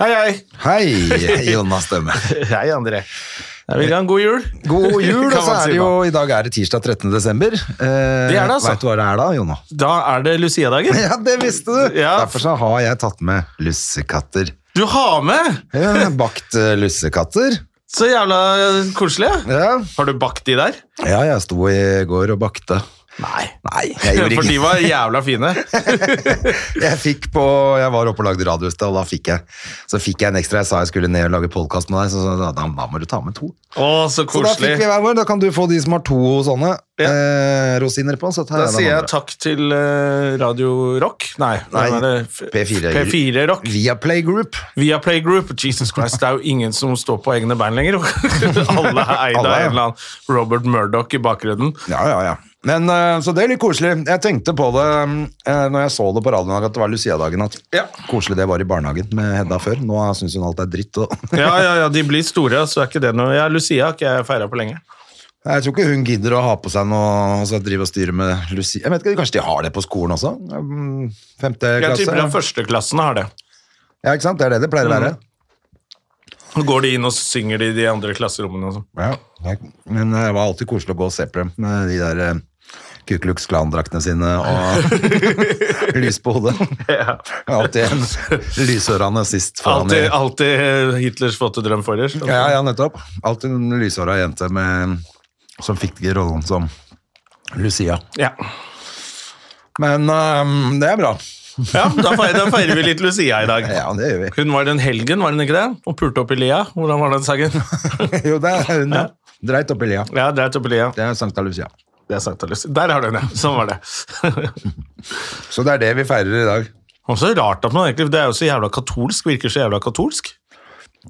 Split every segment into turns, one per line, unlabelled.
Hei, hei.
Hei, Jonas Stømme.
Hei, André. Jeg vil ha en god jul.
God jul, og
Kan
så
man
er
si
det jo,
da.
i dag er det tirsdag 13. desember. Eh,
Det er det, altså.
Vet du hva det er da, Jona?
Da er det Lucia-dagen.
Ja, det visste du!
Ja.
Derfor så har jeg tatt med lussekatter.
Du har med!
Ja, bakt eh, lussekatter.
Så jævla koselig. ja.
Ja.
Har du bakt de der?
ja, jeg sto i går og bakte.
Nei.
Nei, jeg gjorde
For de
ikke
var jævla fine.
Jeg fikk på, jeg var oppe og lagde radiohus da, og da fikk jeg, så fikk jeg en ekstra. Jeg sa jeg skulle ned og lage podcast med deg, så sa jeg, da, da må du ta med to.
Å,
Så
så
da fikk vi
koselig.
hver vår, da kan du få de som har to sånne
Ja.
eh, rosiner på, så tar
Da
jeg den
sier jeg
andre.
takk til eh, Radio Rock. Nei,
Nei,
hvem er det? F-
P4.
P4 Rock.
Via Playgroup.
Via Playgroup. Jesus Christ, det er jo ingen som står på egne bein lenger. Alle er eid av
Alle, ja.
en eller annen Robert Murdoch i bakgrunnen.
Ja, ja, ja. Men, eh, så det er litt koselig. Jeg tenkte på det eh, når jeg så det på radioen i dag, at det var Lucia-dagen. At
Ja.
koselig det var i barnehagen med Hedda før. Nå syns hun alt er dritt. Og
Ja, ja, ja, de blir store, så er ikke det noe Ja, Lucia har ikke jeg feira på lenge.
jeg tror ikke hun gidder å ha på seg noe og så drive og styre med Lucia. Jeg vet ikke, Kanskje de har det på skolen også? Mm, Femte
Jeg tipper
klasse?
at førsteklassen har det.
Ja, ikke sant? Det er det det pleier å
Mm.
være.
Nå går de inn og synger de i de andre klasserommene. og sånn.
Ja. jeg- Men eh, det var alltid koselig å gå og se på dem med de der eh, Ku Klux Klan-draktene sine og lys på hodet.
Ja.
Alltid en lyshåra nazist foran
Alltid,
i-
alltid Hitlers våte drøm forrige.
Ja, ja, nettopp. Alltid en lyshåra jente med, som fikk rollen som Lucia.
Ja.
Men ehm, det er bra.
Ja, da feirer, da feirer vi litt Lucia i dag.
Ja, det gjør vi.
Hun var den helgen, var hun ikke det? Og pulte opp i lia. Hvordan var den sangen?
Jo, det er hun, ja. Dreit opp i lia.
Ja, dreit opp i lia.
Det er Sankta Lucia.
Det er Sankta Lucia. Der har du den, ja. Sånn var det.
Så det er det vi feirer i dag.
Og så rart at man egentlig Det er jo så jævla katolsk. Virker så jævla katolsk.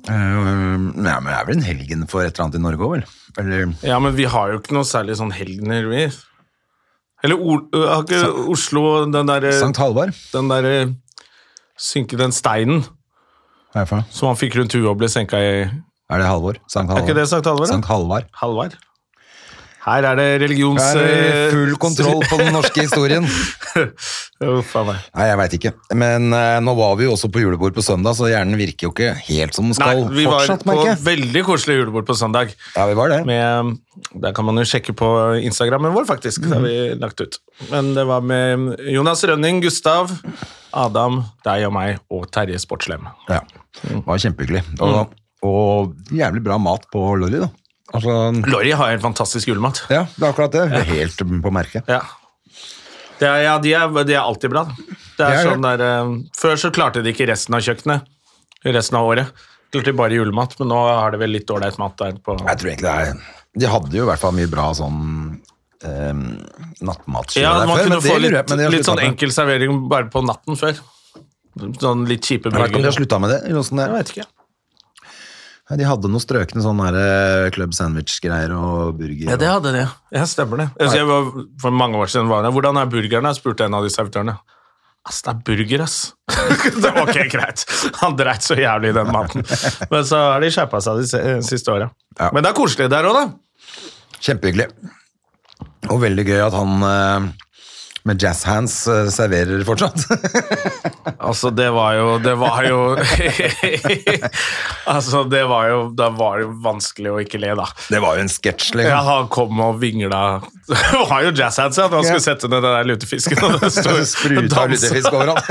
Ehm, ja, men det er vel en helgen for et eller annet i Norge òg, vel? Eller
Ja, men vi har jo ikke noe særlig sånn helgener, vi. Eller Ol- har ikke Oslo den derre
Sankt Halvard?
den der eh, synke den steinen
Hva er det for noe?
som han fikk rundt huet og ble senka i
Er det Halvor? Sankt Halvor.
ikke det Sankt Halvor, da?
Sankt Halvard.
Halvard. Her er det religions...
Da er
eh,
det full kontroll på den norske historien.
Uff a meg.
Nei, jeg veit ikke. Men eh, nå var vi jo også på julebord på søndag, så hjernen virker jo ikke helt som den
Nei,
skal.
vi var
fortsatt,
på
merker jeg.
veldig koselig julebord på søndag.
Ja, vi var det.
Med, der kan man jo sjekke på Instagrammen vår, faktisk. Det har vi
Mm.
lagt ut. Men det var med Jonas Rønning, Gustav, Adam, deg og meg og Terje Sportslem.
Ja, det var kjempehyggelig. Og,
Mm.
og jævlig bra mat på Lorry, da. Altså,
Lorry har helt fantastisk julemat.
ja, det er akkurat det. Helt på merket.
Ja. Det er, ja, de er, de er alltid bra. da. Det er
Ja, ja.
sånn der, eh, før så klarte de ikke resten av kjøkkenet resten av året. Klarte de bare julemat, men nå har de vel litt ålreit mat der. på...
Jeg tror egentlig det er De hadde jo i hvert fall mye bra sånn eh, nattmat
Ja,
der
Man
før,
kunne
men det
få
lurer jeg-
litt,
men de har
litt
sluttet
sånn
med.
enkel servering bare på natten før. Sånn litt kjipe
Jeg vet ikke om de har
burgere.
slutta med det. eller noe sånt der.
Jeg vet ikke.
Nei, De hadde noen strøkne sånne der, eh, club sandwich-greier og burger.
Ja, det
og-
hadde de. Ja, stemmer det. Jeg husker jeg var, for mange år siden var jeg der. Hvordan er burgerne? Jeg spurte en av de servitørene. Ass, det er burger, ass. det var ok, greit. Han dreit så jævlig i den maten. Men så har de skjerpa seg de se- eh, siste åra.
Ja.
Men det er koselig der òg, da.
Kjempehyggelig. Og veldig gøy at han eh, med jazz hands eh, serverer fortsatt.
Altså, det var jo Det var jo Altså, det var jo Da var det jo vanskelig å ikke le, da.
det var jo en sketsj,
Ja,
liksom.
han kom og vingla Det var jo jazzhands, ja. Da han
Ja.
skulle sette ned den der lutefisken. Og det sto-
Spruta
dansa.
lutefisk overalt.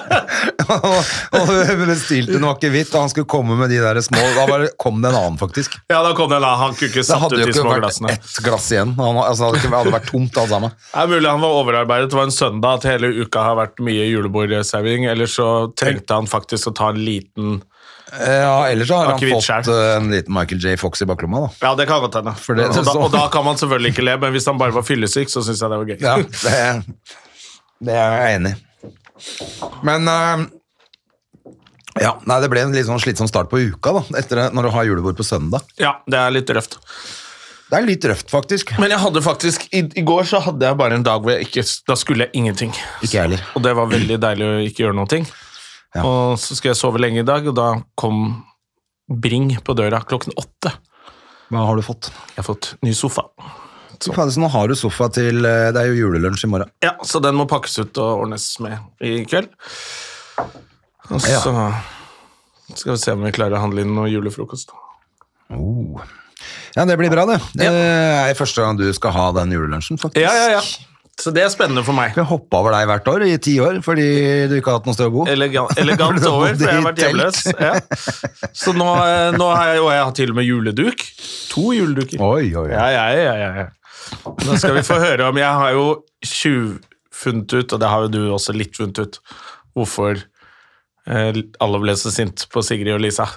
og, og bestilte noe akevitt, og han skulle komme med de der små Da bare kom det en annen, faktisk.
Ja, da kom den, da. Han kunne ikke
Det
satt ut
hadde jo
de
ikke
små
vært
glassene.
ett glass igjen. Han, altså, det hadde ikke- det hadde vært tomt, alt sammen.
Det er mulig han var overarbeidet. Det var en søndag at hele uka har vært mye julebordservering. Eller så trengte han faktisk å ta en liten
Ja, ellers så har han
Akevitt
fått
selv.
eh, en liten Michael J. Fox i baklomma, da.
Ja, det kan godt hende.
det-
og, da, og da kan man selvfølgelig ikke le, men hvis han bare var fyllesyk, så syns jeg det var gøy.
Ja, det, det er jeg enig i. Men eh, Ja, nei, Det ble en litt sånn slitsom start på uka, da, etter, når du har julebord på søndag.
Ja, det er litt røft.
Det er litt røft, faktisk.
Men jeg hadde faktisk, i, i går så hadde jeg bare en dag hvor jeg ikke, da skulle jeg ingenting.
Ikke jeg heller.
Og det var veldig deilig å ikke gjøre noen ting.
Ja.
Og så skal jeg sove lenge i dag, og da kom Bring på døra klokken åtte.
Hva har du fått?
Jeg har fått ny sofa.
Så faen, så nå har du sofa til eh, Det er jo julelunsj i morgen.
Ja, så den må pakkes ut og ordnes med i kveld. Og
Ja.
så skal vi se om vi klarer å handle inn noe julefrokost.
Oh. Ja, det blir bra, det. Det er første gang du skal ha den julelunsjen, faktisk.
Ja, ja, ja. Så det er spennende for meg.
Vi har hoppa over deg hvert år i ti år fordi du ikke har hatt noe sted å bo.
Elegant, elegant
Du har
over,
bodd
for jeg har
i
vært
telt.
hjemløs. Ja. Så nå, eh, nå har jeg, og jeg har til og med juleduk. To juleduker.
Oi, oi, oi.
Ja, ja, ja, ja, ja. Nå skal vi få høre om Jeg har jo tjuv- funnet ut, og det har jo du også litt funnet ut, hvorfor eh, alle ble så sint på Sigrid og Lisa.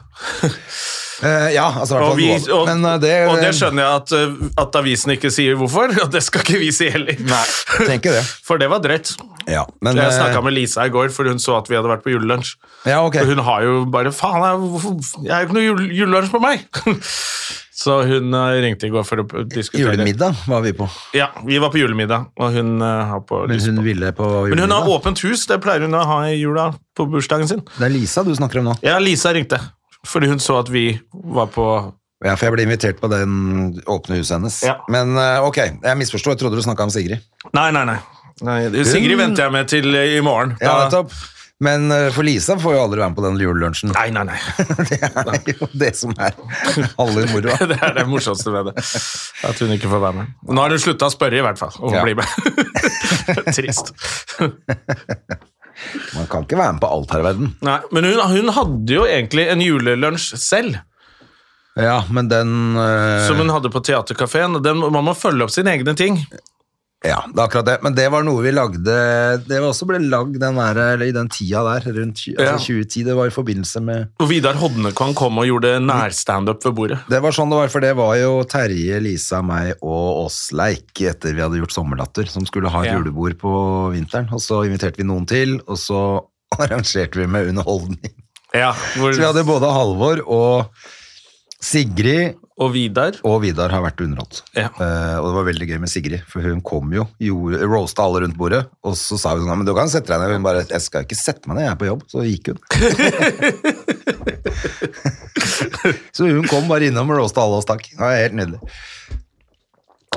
Eh, ja, altså i hvert
Og,
fall
vi,
noe av
og,
det. Men eh, det,
og det skjønner jeg at, eh, at avisen ikke sier hvorfor, og det skal ikke vi si heller.
tenker det.
For det var drøyt.
Ja, men,
Jeg
eh,
snakka med Lisa i går, for hun så at vi hadde vært på julelunsj.
Ja, ok.
Og hun har jo bare Faen, jeg, hvorfor- jeg har jo ikke noe jule, julelunsj på meg! så hun eh, ringte i går for å p- diskutere.
Julemiddag var vi på.
Ja, vi var på julemiddag, og hun eh, har på
Men
lyst
hun
på.
ville på
Men hun har
julemiddag.
åpent hus, det pleier hun å ha i jula på bursdagen sin.
Det er Lisa du snakker om nå.
Ja, Lisa ringte, fordi hun så at vi var på
Ja, for jeg ble invitert på den åpne huset hennes.
Ja.
Men eh, ok, jeg misforsto. Jeg trodde du snakka om Sigrid.
Nei, nei, nei. nei Sigrid
Hun-
venter jeg med til eh, i morgen.
Ja,
Da-
nettopp. Men eh, for Lisa får jo aldri være med på den julelunsjen.
Nei, nei, nei.
Det er jo det som er aller moroa.
Det er det morsomste ved det. At hun ikke får være med. Nå har hun slutta å spørre, i hvert fall. Om
Ja.
å bli med. Trist.
Man kan ikke være med på alt her i verden.
Nei, men hun, hun hadde jo egentlig en julelunsj selv,
Ja, men den eh,
som hun hadde på Theatercaféen. Den- Man må følge opp sine egne ting.
Ja, det er akkurat det. Men det var noe vi lagde Det var også ble lagd den der, eller i den tida der, rundt tj-
Ja.
altså 2010. Det var i forbindelse med
Og Vidar Hodnekvam kom og gjorde nærstandup ved bordet.
Det var sånn det var, for det var jo Terje, Lisa, meg og oss leik etter vi hadde gjort Sommerlatter, som skulle ha et
Ja.
julebord på vinteren. Og så inviterte vi noen til, og så arrangerte vi med underholdning.
Ja, hvor,
Så vi hadde både Halvor og Sigrid
og Vidar.
og Vidar har vært underholdt.
Ja.
Eh, og det var veldig gøy med Sigrid, for hun kom jo, gjorde, roasta alle rundt bordet, og så sa hun sånn, «Ja, men du kan sette deg ned. Hun bare, jeg skal ikke sette meg ned, jeg er på jobb. Så gikk hun. så hun kom bare innom og roasta alle og stakk. Det var helt nydelig.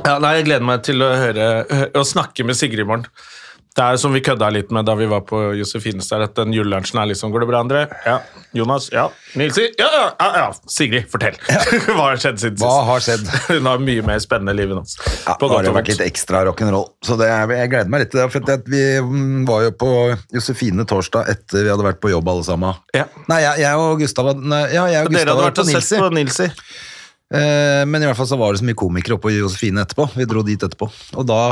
Ja, nei, Jeg gleder meg til å høre hø- å snakke med Sigrid i morgen. Det er jo som vi kødda litt med da vi var på Josefines der, at den julelunsjen er liksom Går det bra, André? Ja. Jonas? Ja. Nilsi? Ja, ja, ja. ja. Sigrid, fortell. Hva har skjedd siden sist?
Hva har skjedd?
Hun har mye mer spennende liv enn oss.
Ja,
På
nå har
godt
det
og
vært litt
vondt.
ekstra rock'n'roll, så det er, jeg gleder meg litt til det. For det, at vi mm, var jo på Josefine torsdag etter vi hadde vært på jobb alle sammen.
Ja.
Nei, jeg, jeg og Gustav, hadde- nei, ja, jeg og
Dere
Gustav
hadde
var på
vært og sett
Nilsi.
på Nilsi.
Eh, Men i hvert fall så var det så mye komikere oppe på Josefine etterpå. Vi dro dit etterpå. Og da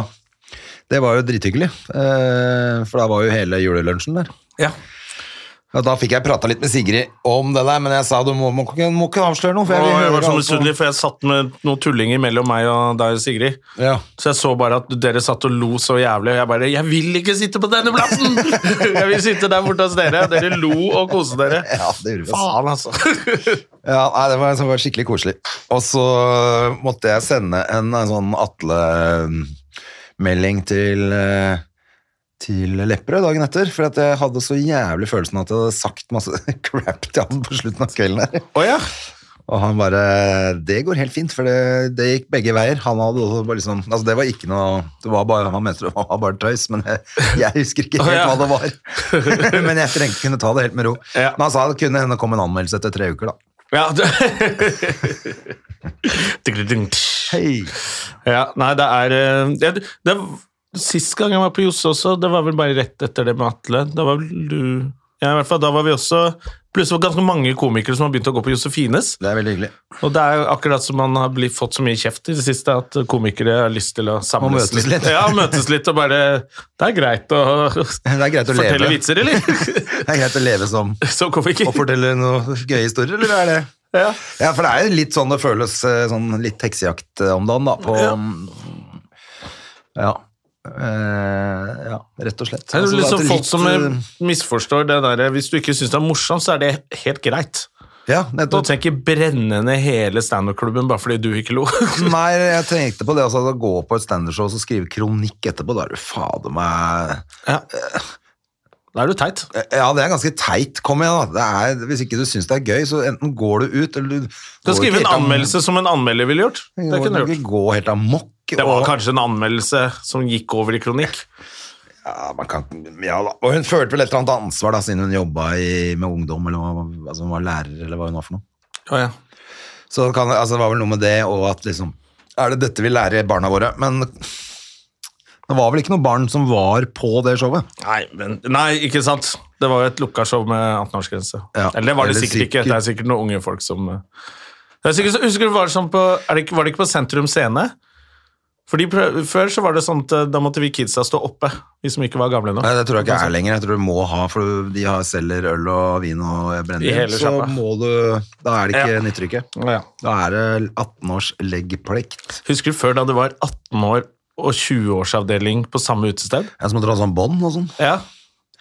Det var jo drithyggelig. eh, For da var jo hele julelunsjen der.
Ja.
Og da fikk jeg prata litt med Sigrid om det der, men jeg sa du må, må, ikke- må ikke avsløre noe. For jeg,
Og
vil
jeg
høre
var
alt
så
om-
misunnelig, for jeg satt med noen tullinger mellom meg og deg, Sigrid.
Ja.
Så jeg så bare at dere satt og lo så jævlig, og jeg bare 'Jeg vil ikke sitte på denne plassen!' jeg vil sitte der borte hos dere. Dere lo og koste dere.
Ja, det gjorde vi. ass.
Faen, altså.
Ja, nei, det, var, det var skikkelig koselig. Og så måtte jeg sende en, en sånn Atle-melding til eh, til Lepperød dagen etter, for at jeg hadde så jævlig følelsen at jeg hadde sagt masse crap til han på slutten av kvelden. her.
Å ja.
Og han bare Det går helt fint, for det, det gikk begge veier. Han hadde også bare liksom Altså, det var ikke noe Det var bare Han mente det var bare tøys, men jeg, jeg husker ikke
Å,
helt
ja.
hva det var. men jeg trengte kunne ta det helt med ro.
Ja.
Men han sa det kunne hende komme en anmeldelse etter tre uker, da.
Ja, det...
Hei.
ja nei, det er eh, det, det, Sist gang jeg var på Josse også, det var vel bare rett etter det med Atle. Da var vel du Ja, i hvert fall, da var vi også Plutselig var det ganske mange komikere som har begynt å gå på Josefines.
Det er veldig hyggelig.
Og det er jo akkurat som man har blitt, fått så mye kjeft i det siste, at komikere har lyst til å
Og
samles
møtes litt.
Ja, møtes litt og bare Det er greit å
Det er greit å
fortelle
leve.
vitser, eller?
Det er greit å leve som
Som komiker.
og fortelle noen gøye historier, eller er det
Ja.
Ja, for det er jo litt sånn det føles eh, sånn litt heksejakt eh, om dagen, da. På, ja. Eh, ja, rett og slett.
Det er jo
Altså,
liksom
at det
folk som
litt,
eh, misforstår det der Hvis du ikke syns det er morsomt, så er det helt greit.
eh, Ja,
Da
nettopp.
tenker jeg brenne ned hele standup-klubben bare fordi du ikke lo.
Nei, jeg tenkte på det. Altså, å gå på et standardshow og så skrive kronikk etterpå, da er du fader meg Eh,
Ja. Da er du teit.
Ja, det er ganske teit. Kom igjen, da. Det er, hvis ikke du syns det er gøy, så enten går du ut eller du
Du kan
går
skrive
ikke helt
en
am-
anmeldelse som en anmelder ville gjort. Det
går
kunne du
ikke
gjort.
Gå helt amok.
Det var
og-
kanskje en anmeldelse som gikk over i kronikk.
ja, man kan, ja da. Og hun følte vel et eller annet ansvar, da, siden hun jobba i- med ungdom, eller hva- altså, hun var lærer, eller hva hun var for noe.
Ja, ja.
Så kan, altså, det var vel noe med det, og at liksom Er det dette vi lærer barna våre? Men det var vel ikke noen barn som var på det showet?
Nei, men, nei, ikke sant. Det var jo et lukka show med 18-årsgrense.
Ja,
Eller det var det
eller
sikkert ikke.
sikkert-
Det er sikkert noen unge folk som eh, det er sikkert, Husker du var det, sånn på, er det ikke, var det ikke på Sentrum Scene? Fordi prøv, Før så var det sånn at eh, da måtte vi kidsa stå oppe, vi som ikke var gamle nok.
Nei, det tror jeg ikke er lenger. Jeg tror du må ha, for de har selger øl og vin og
I hele
brennevin. Så
sjappa.
må du Da er det ikke
Ja.
nyttrykket.
Ja.
Da er det 18-års leggplikt.
Husker du før da det var 18 år og 20-årsavdeling på samme utested?
Jeg som måtte ha sånn bånd og sånn.
Ja.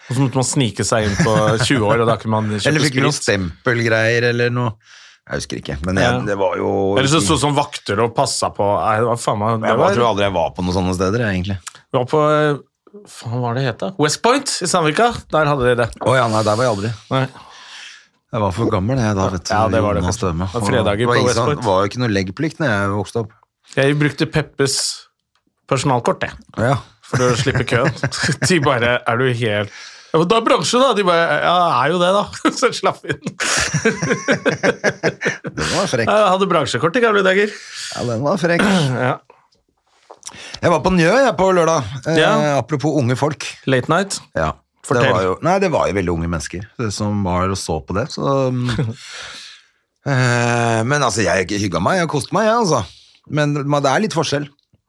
Og så måtte man snike seg inn på 20 år, og da kunne man kjøpe
Eller fikk vi noen
sprit.
stempelgreier eller noe. Jeg husker ikke, men jeg,
Ja.
det var jo
Eller så sto sånn vakter og passa på Nei, det var faen meg det
Jeg
var,
tror aldri jeg var på noen sånne steder, jeg, egentlig.
Vi var på eh, faen, hva var det het da? West Point i Sandvika. Der hadde de det.
Å ja, nei, der var jeg aldri.
Nei.
Jeg var for gammel, jeg, da, vet du.
Ja, det var det
Jonas
kanskje.
Døme.
Det var fredager
Det var
på
ingen sånn-
Westport.
Det var jo ikke noe leggplikt når jeg vokste opp.
Jeg brukte Peppes personalkort, jeg,
Ja.
for å slippe køen. De bare Er du helt ja, men Da er bransje, da! De bare Ja, er jo det, da. Så slapp inn.
Den var frekk.
Jeg hadde bransjekort i gamle dager.
Ja, den var frekk.
Ja.
Jeg var på Njø jeg på lørdag. Eh,
Ja.
Apropos unge folk.
Late night.
Ja.
Fortell.
Det var jo, nei, det var jo veldig unge mennesker eh, som var og så på det. Så, mm, eh, men altså, jeg hygga meg, jeg koste meg, jeg, altså. Men men det er litt forskjell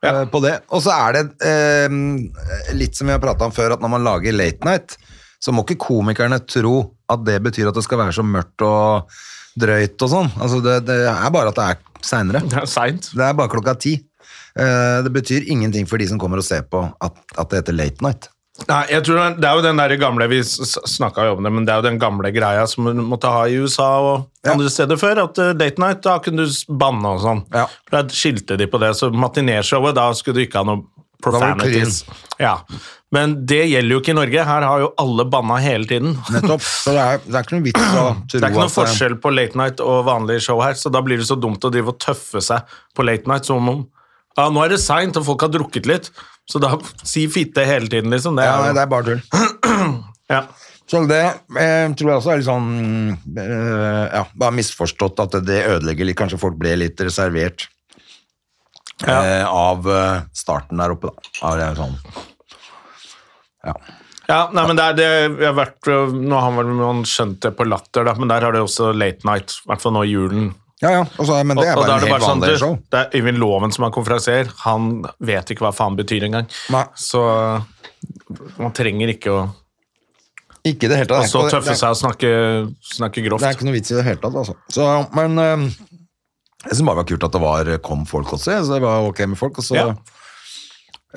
Ja.
eh, på det. Og så er det eh, litt som vi har prata om før, at når man lager Late Night, så må ikke komikerne tro at det betyr at det skal være så mørkt og drøyt og sånn. Altså, det, det er bare at det er seinere.
Det er seint.
Det er bare klokka ti. Eh, det betyr ingenting for de som kommer og ser på at, at det heter Late Night.
Nei, jeg tror det er- det er jo den der gamle Vi snakka jo om det, men det er jo den gamle greia som man måtte ha i USA og
Ja.
andre steder før. At eh, date night, da kunne du s- banne og sånn.
Ja.
Da skilte de på det. Så matineshowet, da skulle du ikke ha
var
noe
det
profanities. Ja. Men det gjelder jo ikke i Norge. Her har jo alle banna hele tiden.
Nettopp. Så det er, det er ikke noen vits å tro
Det er ikke noe
at det-
forskjell på late night og vanlig show her, så da blir det så dumt å drive og tøffe seg på late night som om ja, nå er det seint, og folk har drukket litt, så da si fitte hele tiden, liksom. Det er,
Ja, nei,
jo-
det er bare tull.
Ja.
Så det eh, tror jeg også er litt sånn eh, Ja, bare misforstått at det- det ødelegger litt. Kanskje folk ble litt reservert
Ja.
eh, av eh, starten der oppe, da. Ja, det er sånn. Ja.
Ja, nei, men det er det jeg har vært, øh, Nå har man, man skjønt det på latter, da, men der har det også late night. I hvert fall nå i julen.
ja, ja. Og så, men det er
Og-
bare
og da
en helt
sånn,
vanlig
du,
show.
Det er Øyvind Loven som er konferansier. Han vet ikke hva faen betyr engang.
Nei.
Så øh, man trenger ikke å
Ikke i det hele tatt.
og så
Det er ikke-
tøffe seg og snakke, snakke grovt.
Det er ikke noe vits i det hele tatt, altså. Så, men eh, jeg synes bare det var kult at det var, eh, kom folk også, jeg. så det var ok med folk. Og så
Ja.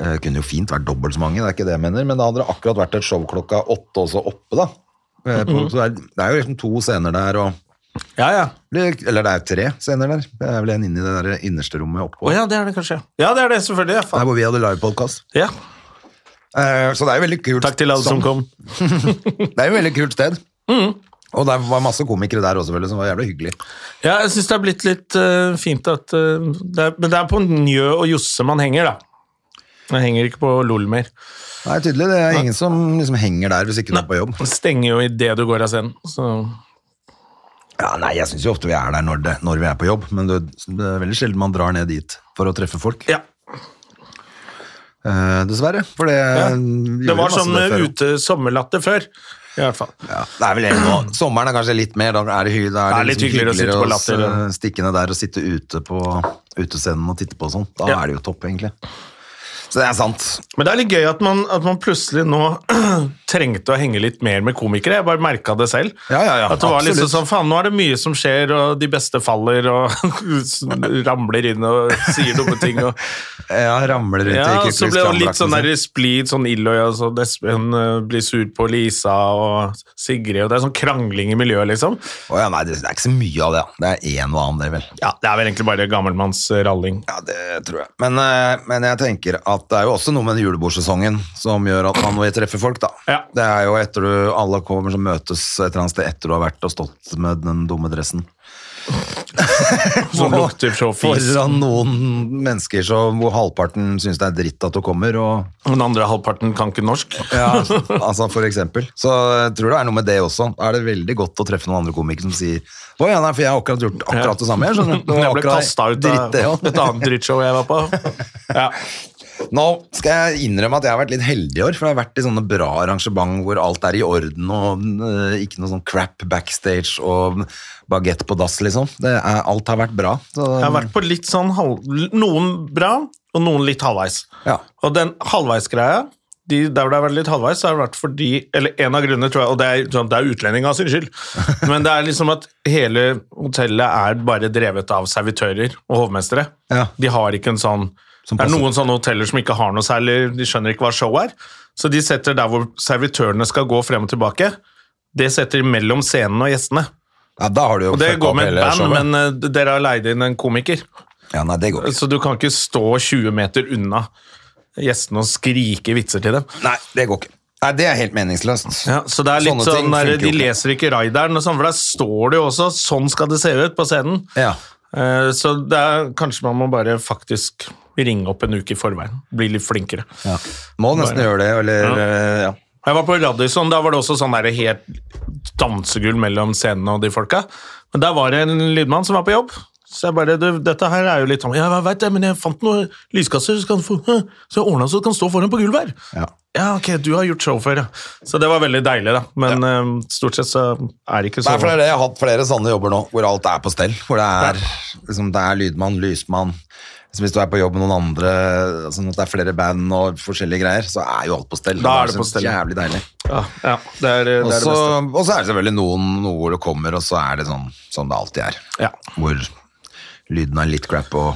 eh, kunne jo fint vært dobbelt så mange, det er ikke det jeg mener, men da hadde det akkurat vært et show klokka åtte også oppe, da. Eh, på-
Mhm.
Så det er, det er jo liksom to scener der, og
Ja, ja.
eller det er tre scener der. Det er vel en inne i det der innerste rommet oppå.
Å ja, det er det kanskje. Ja, det er det, selvfølgelig. Ja,
Der
faen.
hvor vi hadde livepodkast.
ja.
Eh, så det er jo veldig kult.
Takk til alle som
sånn.
kom. Mhm.
Det er jo et veldig kult sted. Og det var masse komikere der også, selvfølgelig, som var jævlig hyggelig.
Ja, jeg syns det er blitt litt eh, fint at eh, det er, Men det er på Njø og Josse man henger, da. Man henger ikke på LOL mer.
Nei, tydelig. Det er ingen som liksom henger der hvis ikke du er på jobb.
Den stenger jo idet du går av scenen. Så.
Ja, nei, jeg syns jo ofte vi er der når, det, når vi er på jobb, men det, det er veldig sjelden man drar ned dit for å treffe folk.
Ja.
Eh, dessverre. For det gjorde
Det var
masse
sånn
det før.
ute sommerlatter før. I hvert fall.
Ja, det er vel egentlig nå. Sommeren er kanskje litt mer, da er det, hy, da er det,
Det er litt
liksom
hyggeligere å sitte på
s-
latter. eh.
stikke ned der og sitte ute på utescenen og titte på og sånn. Da
Ja.
er det jo topp, egentlig. Så det er sant.
Men det er litt gøy at man, at man plutselig nå trengte å henge litt mer med komikere. Jeg bare merka det selv.
Ja, ja, ja,
at det var litt
absolutt.
sånn, faen, Nå er det mye som skjer, og de beste faller og ramler inn og sier dumme ting. Og,
Ja, ramler rundt
ja,
i
og så ble det litt sånn
Kristian-drakten
der
sin.
splid, sånn Illøy og sånn Espen eh, blir sur på Lisa og Sigrid, og det er sånn krangling i miljøet, liksom.
Å ja, nei, det det er ikke så mye av det. ja. Det er én og annen, det, vel.
Ja, det er vel egentlig bare gammelmannsralling.
Ja, det tror jeg. Men, eh, men jeg tenker at det er jo også noe med den julebordsesongen som gjør at man må treffe folk, da.
Ja.
Det er jo etter du alle kommer som møtes et eller annet sted etter du har vært og stått med den dumme dressen.
Som lukter så Sånn fis.
Foran noen mennesker som, hvor halvparten syns det er dritt at du kommer, og
Den andre halvparten kan ikke norsk.
Ja, altså for eksempel. Så jeg tror det er noe med det også. Da er det veldig godt å treffe noen andre komikere som sier Å ja, nei, for jeg har akkurat gjort akkurat det samme. Jeg skjønner. Det var
Jeg ble
akkurat
kasta ut
dritt, det,
av
ja.
et annet drittshow jeg var på. Ja.
Nå skal jeg innrømme at jeg har vært litt heldig i år, for jeg har vært i sånne bra arrangement hvor alt er i orden og øh, ikke noe sånn crap backstage og bagett på dass, liksom. Det er, alt har vært bra. Så,
Jeg har vært på litt sånn halv... Noen bra, og noen litt halvveis.
Ja.
Og den halvveisgreia de, der hvor det har vært litt halvveis, så har det vært fordi Eller en av grunnene, tror jeg, og det er, sånn, det er utlendinga sin skyld, men det er liksom at hele hotellet er bare drevet av servitører og hovmestere.
Ja.
De har ikke en sånn
Som
Det er
passer.
noen sånne hoteller som ikke har noe særlig De skjønner ikke hva show er, så de setter der hvor servitørene skal gå frem og tilbake. Det setter de mellom scenen og gjestene.
ja, da har du jo
Og det
fucka
går
opp
med et
hele
band,
showet.
men eh, dere har leid inn en komiker.
Ja, nei, det går ikke.
Så du kan ikke stå 20 meter unna gjestene og skrike vitser til dem.
Nei, det går ikke. Nei, det er helt meningsløst.
Ja, så det er litt
Sånne ting
sånn der,
funker jo
De
ikke.
leser ikke Raideren, og sånn, for der står det jo også 'sånn skal det se ut' på scenen.
Ja.
Eh, Så det er, kanskje man må bare faktisk ringe opp en uke i forveien. Bli litt flinkere.
Ja. Må nesten gjøre det, eller øh, ja.
Jeg var på Radisson, da var det også sånn der helt dansegull mellom scenene og de folka. Men der var det en lydmann som var på jobb. Så jeg bare, du, dette her er jo litt sånn, ja, jeg vet det, men jeg fant noen lyskasser, så, kan få, «Hæ?» så jeg ordnet så du kan stå foran på gulvet her.
Ja.
ok, du har gjort show før, ja. Så det var veldig deilig da, men eh, stort sett så er det ikke
Nei,
så...
for det er det. Jeg har hatt flere sånne jobber nå, hvor alt er på stell. Hvor det er, liksom, det er lydmann, lysmann liksom, Hvis du er på jobb med noen andre, sånn at det er flere band og forskjellige greier, så er jo alt på stell.
Da er det
så
på stell.
Jævlig deilig.
Ja, ja, det er eh,
Og
det, er det
så
beste.
og så er det selvfølgelig noen noe hvor det kommer, og så er det sånn som det alltid er.
Ja.
Hvor lyden er litt crap og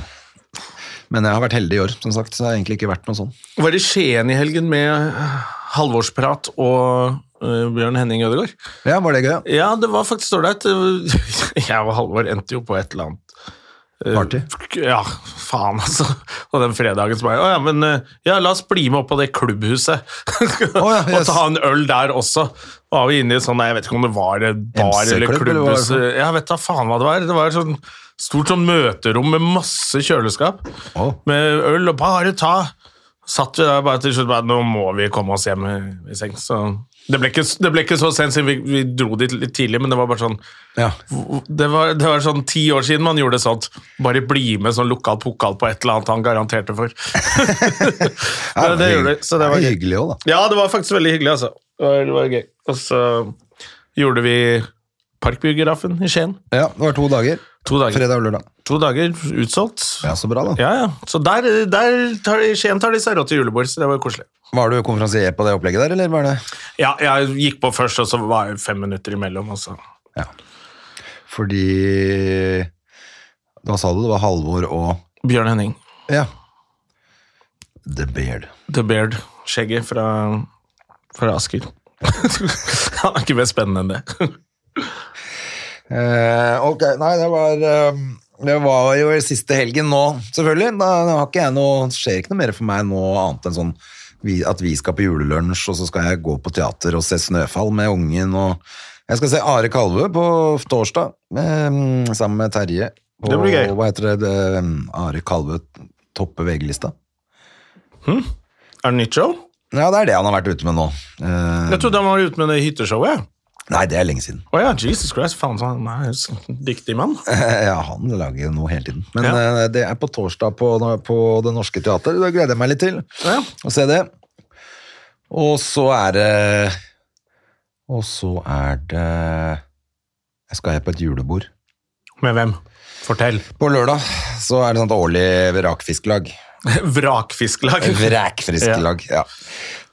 Men jeg har vært heldig i år, som sagt, så det har egentlig ikke vært noe sånn.
Var i Skien i helgen med eh, halvårsprat og eh, Bjørn Henning Ødegård?
Ja, var det gøy? ja?
Ja, det var faktisk ålreit. Jeg og Halvor endte jo på et eller annet eh,
Party?
Ja, faen, altså. Og den fredagen så bare Å ja, men eh, ja, la oss bli med opp på det klubbhuset.
ja,
Og
yes.
ta en øl der også. Var vi inne i sånn Jeg vet ikke om det var et bar eller
MC-klubb, eller hva
klubbhus.
var det
Jeg vet da faen hva det var. Det var et sånn stort sånn møterom med masse kjøleskap.
Å.
Med øl og bare ta. Satt vi der bare til slutt bare, Nå må vi komme oss hjem i, i seng. Så det ble, ikke, det ble ikke så sent siden vi, vi dro dit litt tidlig, men det var bare sånn
Ja.
det var, det var sånn ti år siden man gjorde sånt. Bare bli med sånn lokal pokal på et eller annet han garanterte for.
Ja,
Men det gjorde vi, så det var gøy.
hyggelig òg, da.
Ja, det var faktisk veldig hyggelig, altså. Det var, det var gøy. Og så gjorde vi Parkbiografen i Skien.
Ja, det var to dager.
To dager.
Fredag og lørdag.
To dager utsolgt.
Ja, så bra, da.
Ja, ja. Så der, der tar de, Skien tar de seg råd til julebord, så det var koselig.
Var du konferansier på det opplegget der, eller var det
Ja, jeg gikk på først, og så var det fem minutter imellom. altså. Og så.
Ja. Fordi Hva sa du? Det var Halvor og
Bjørn Henning,
Ja. The Beard.
The Beard, skjegget fra, fra Asker. Han er ikke mer spennende enn det.
Eh, ok, nei, det var eh, Det var jo siste helgen nå, selvfølgelig. Da har ikke jeg noe skjer ikke noe mer for meg nå annet enn sånn vi, at vi skal på julelunsj, og så skal jeg gå på teater og se Snøfall med ungen og Jeg skal se Are Kalvø på torsdag eh, sammen med Terje. På,
Det blir gøy.
Hva heter det? det Are Kalvø topper VG-lista.
Er det nytt show?
Ja, det er det han har vært ute med nå. Eh,
Jeg trodde han var ute med det hytteshowet. jeg.
nei, det er lenge siden.
Å ja, Jesus Christ, faen så han er en dyktig mann.
ja, han lager noe hele tiden. Men
Ja.
eh, det er på torsdag på, på Det Norske Teater. Det gleder jeg meg litt til
Ja.
å se det. Og så er det Og så er det Jeg skal på et julebord.
Med hvem? Fortell.
sånn På lørdag så er det sånt årlig rakfisklag.
Vrakfisklag.
Vrækfriskelag. Ja.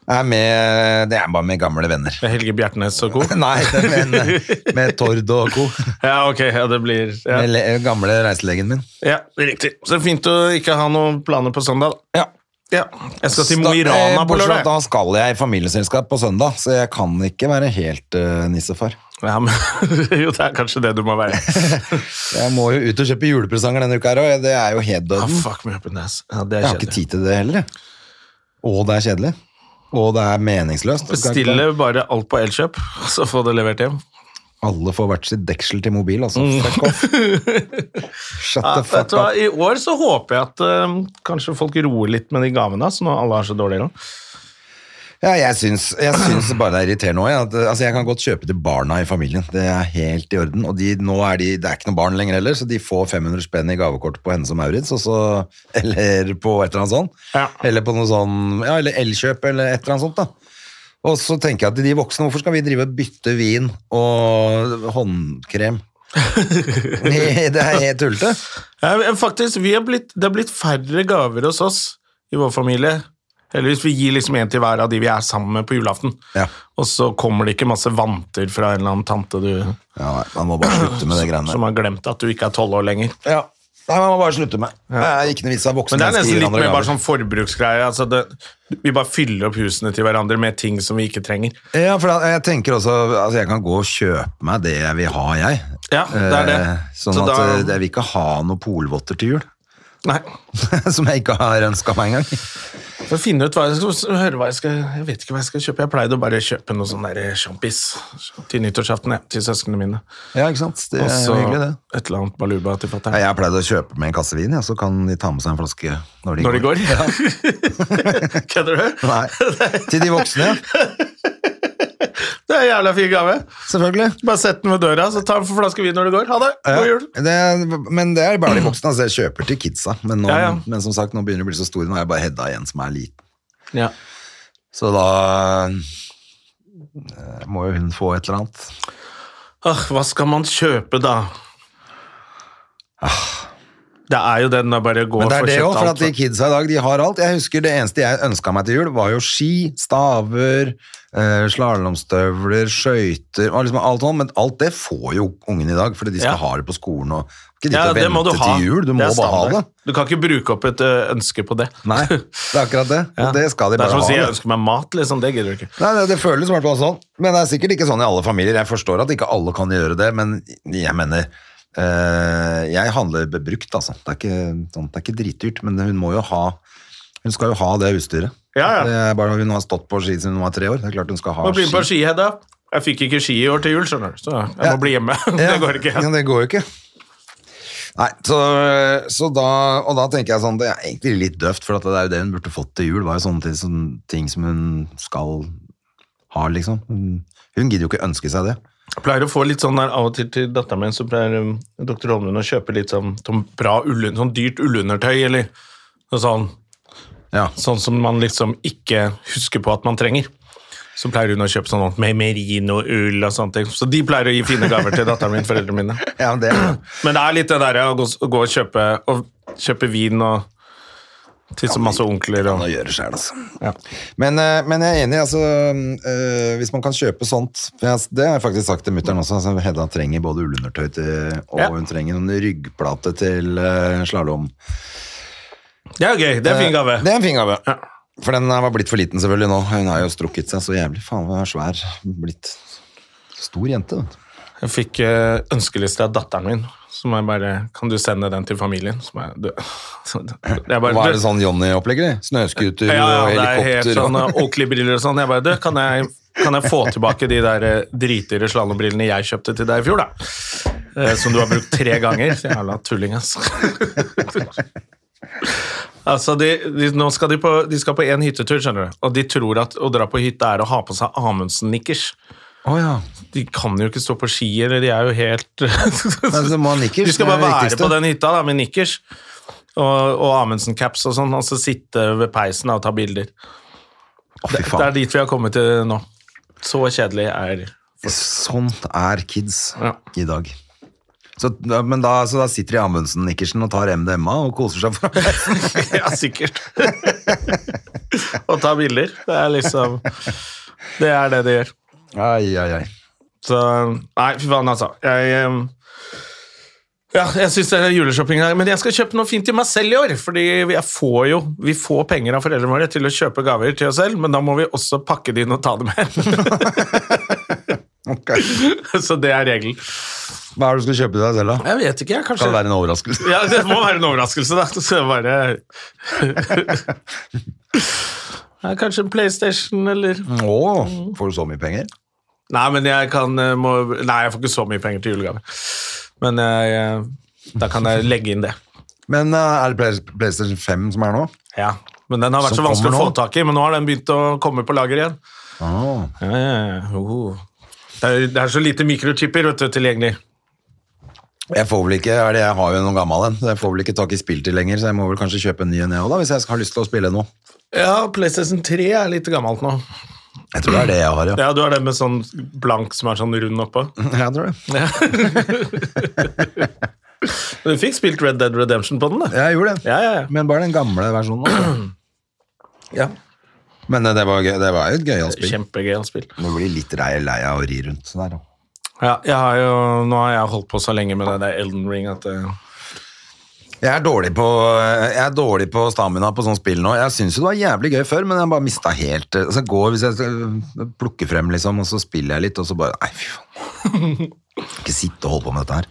Er med, det er bare med gamle venner.
Med Helge Bjertnæs og co.
Nei, men med Tord og co.
Ja, ok, ja, det blir ja.
Med le- gamle reiselegen min.
ja, riktig. Så fint å ikke ha noen planer på søndag. da.
Ja.
Ja, Jeg skal til Mo i
Da- eh,
Rana på
bortsett fra at
lørdag.
Da skal jeg i familieselskap på søndag, så jeg kan ikke være helt eh, nissefar.
Ja, men, jo, det er kanskje det du må være.
Jeg må jo ut og kjøpe julepresanger denne uka her òg. Det er jo helt
Ah,
døden.
fuck me up in the ass. Ja, det er
jeg har ikke
kjedelig.
tid til det heller. jeg. Og det er kjedelig. Og det er meningsløst. Jeg skal ikke-
Bestille bare alt på Elkjøp, så få det levert hjem.
Alle får hvert sitt deksel til mobil, altså. Fuck off. Shut
Ja,
the
vet
fuck
du hva,
up.
I år så håper jeg at eh, kanskje folk roer litt med de gavene, så når alle har så dårlig råd.
Ja, jeg syns, jeg syns bare det er irriterende òg. Altså, jeg kan godt kjøpe til barna i familien. Det er helt i orden. Og de, nå er de, det er ikke noe barn lenger heller, så de får 500 spenn i gavekort på Hennes og Maurits, og så, eller på et eller annet sånt.
Ja.
Eller på noe sånn, ja, eller Elkjøp eller et eller annet sånt. da. Og så tenker jeg at de voksne, hvorfor skal vi drive og bytte vin og håndkrem? det er helt tullete.
Ja, men faktisk, vi har blitt, Det har blitt færre gaver hos oss i vår familie. Heldigvis, vi gir liksom en til hver av de vi er sammen med på julaften.
Ja.
Og så kommer det ikke masse vanter fra en eller annen tante du,
Ja, nei, man må bare slutte med det greiene
som
der.
har glemt at du ikke er tolv år lenger.
Ja. Nei, man må bare slutte med. Det er ikke noe vits av voksne
Men det er
mennesker
nesten
gir
litt
hverandre
mer bare
gaver.
sånn forbruksgreie. Altså det, vi bare fyller opp husene til hverandre med ting som vi ikke trenger.
Ja, for da, jeg tenker også altså Jeg kan gå og kjøpe meg det jeg vil ha, jeg.
Ja, det er det.
Eh, Sånn
Så
at
da-
eh, jeg vil ikke ha noen polvotter til jul.
Nei.
Som jeg ikke har ønska meg engang.
For å finne ut hva jeg skal, høre hva jeg skal Jeg vet ikke hva jeg skal kjøpe. Jeg pleide å bare kjøpe noe sånn der sjampis til nyttårsaften ja, til søsknene mine.
Ja, ikke sant? Det
Og
er
så
jo hyggelig, det.
et eller annet baluba til
Ja,
fatter'n.
jeg har pleid å kjøpe med en kasse vin, ja, så kan de ta med seg en flaske når de
Når de
går.
går? Kødder du?
Nei. Til de voksne, ja.
Det er en jævla fin gave.
Selvfølgelig.
Bare sett den ved døra, så ta en flaske vin når du går. Ha det!
Ja,
God jul!
det er, men det er bare de voksne. Altså, jeg kjøper til kidsa, men, nå,
Ja, ja.
men som sagt, nå begynner de å bli så store. Nå er jeg bare Hedda igjen som er liten.
Ja.
Så da eh, må jo hun få et eller annet.
Ah, hva skal man kjøpe, da? Det er jo den å bare gå
Ah. Men
og
det er
få
det òg,
kjøpt
for
alt.
at de kidsa i dag, de har alt. Jeg husker det eneste jeg ønska meg til jul, var jo ski, staver, eh, slalåmstøvler, skøyter og liksom alt sånt, men alt det får jo ungene i dag, fordi de skal
Ja.
ha det på skolen og Ikke de
ja,
til å
det må
vente
du ha.
til jul, du
Det
må
er
bare ha det.
standard. Du kan ikke bruke opp et ø, ønske på det.
Nei, det er akkurat det.
Ja.
Og det skal de
Det
bare
er som å
ha.
si jeg
det.
ønsker meg mat, liksom. Det gidder du ikke.
Nei, det, det føles i hvert fall sånn. Men det er sikkert ikke sånn i alle familier. Jeg forstår at ikke alle kan gjøre det, men jeg mener eh, Jeg handler bebrukt, altså. Det er, ikke, sånn, det er ikke dritdyrt, men hun må jo ha Hun skal jo ha det utstyret.
Ja, ja.
Det er bare, hun har stått på ski siden hun var tre år. Det er klart hun skal ha
Må begynne på
ski.
ski, Hedda. Jeg fikk ikke ski i år til jul, skjønner du, så jeg
Ja.
må bli hjemme.
Ja,
Det går ikke.
Ja, det går jo ikke. Nei, så, så da, og da tenker jeg sånn, det er egentlig litt døvt, for at det er jo det hun burde fått til jul, var jo sånne ting, sånne ting som hun skal ha, liksom. Hun, hun gidder jo ikke ønske seg det.
Jeg pleier å få litt sånn der av og til til datteren min, så pleier um, doktor Holmen å kjøpe litt sånn, sånn bra ullun- sånn dyrt ullundertøy, eller noe sånn,
Ja.
sånn som man liksom ikke husker på at man trenger. Så pleier hun å kjøpe sånn ordentlig med merino-ull og sånne ting. Så de pleier å gi fine gaver til datteren min, foreldrene mine.
Ja, men det er det.
Men det er litt det derre å gå, å gå og kjøpe, å kjøpe vin og til så masse onkler og
å gjøre selv, altså.
Ja.
Men, eh, men jeg er enig, altså, eh, hvis man kan kjøpe sånt, for jeg, det har jeg faktisk sagt til mutteren også, altså, Hedda trenger både ullundertøy til, og
Ja.
hun trenger en ryggplate til uh, slalom.
Det er jo gøy. Det er en fin gave.
Eh, Det er en fin gave.
Ja.
For den var blitt for liten selvfølgelig nå, hun har jo strukket seg så jævlig, faen hun er svær, blitt stor jente. vet du.
Jeg fikk eh, ønskeliste av datteren min. Som jeg bare Kan du sende den til familien? Som jeg, du, så det- jeg bare,
Hva er det
du-
sånn Johnny-opplegger i? Snøskuter
Ja,
og
det er helt
helikopter?
sånn
og-
eh, Oakley-briller og sånn. Jeg bare Du, kan jeg, kan jeg få tilbake de der eh, dritdyre slalåmbrillene jeg kjøpte til deg i fjor, da? Eh, Som du har brukt tre ganger. Så Jævla tulling, ass. Altså, de, de, nå skal de, på, de skal på en hyttetur, skjønner du. Og de tror at å dra på hytte er å ha på seg Amundsen-nikkers.
Å ja.
De kan jo ikke stå på ski, eller de er jo helt
Men du må ha nikkers,
De
det er
skal bare
det
være
viktigste.
på den hytta da, med nikkers og, og Amundsen-caps og sånn, og så sitte ved peisen da, og ta bilder.
Å, fy
Det er
faen.
dit vi har kommet til nå. Så kjedelig er
Sånt er kids
Ja.
i dag. Så, men da, så da sitter de i Amundsen-nikkersen og tar MDMA og koser seg for
ja, sikkert. og ta bilder. Det er liksom Det er det det gjør.
Ai, ai, ai.
Så Nei, fy faen, altså. Jeg eh, ja, jeg syns det er juleshopping i dag, men jeg skal kjøpe noe fint til meg selv i år. Fordi jeg får jo Vi får penger av foreldrene våre til å kjøpe gaver til oss selv, men da må vi også pakke det inn og ta det med.
Ok.
Så det er regelen.
Hva er det du skal kjøpe til deg selv, da?
Jeg vet ikke, jeg. Kanskje
Skal det være en overraskelse?
Ja, det må være en overraskelse, da. Så jeg bare ja, Kanskje en PlayStation, eller
Åh, får du så mye penger?
Nei, men jeg kan eh, må, Nei, jeg får ikke så mye penger til julegave. Men jeg, eh, da kan jeg legge inn det.
Men eh, er det Play- PlayStation 5 som er nå?
Ja. Men den har vært
Som
så vanskelig å
kommer
få
nå?
tak i, men nå har den begynt å komme på lager igjen.
Ah.
Ja, ja, ja. Oh. Det, er, det er så lite mikrochipper vet du, tilgjengelig.
Jeg får vel ikke, er det, jeg har jo noen gammel en, så jeg får vel ikke tak i spill til lenger, så jeg må vel kanskje kjøpe en ny en jeg også da, hvis jeg skal- har lyst til å spille noe.
Ja, PlayStation 3 er litt gammelt nå.
Jeg tror det er det jeg har, ja.
Ja, Du har den med sånn blank som er sånn rund oppå.
Jeg tror det.
Men Du fikk spilt Red Dead Redemption på den, da.
Jeg gjorde det.
Ja, ja, ja.
Men bare den gamle versjonen. altså.
Ja.
Men eh, det var, gøy, det var jo et gøyalt spill.
Kjempegøy å spille.
Du blir litt rei lei av å ri rundt sånn der. da.
Ja, jeg har jo, nå har jeg holdt på så lenge med det der Elden Ring at eh, det,
Jeg er dårlig på, jeg er dårlig på stamina på sånne spill nå. Jeg syns jo det var jævlig gøy før, men jeg bare mista helt eh, altså jeg går Hvis jeg eh, plukker frem, liksom, og så spiller jeg litt, og så bare Nei, fy faen. Ikke sitte og holde på med dette her.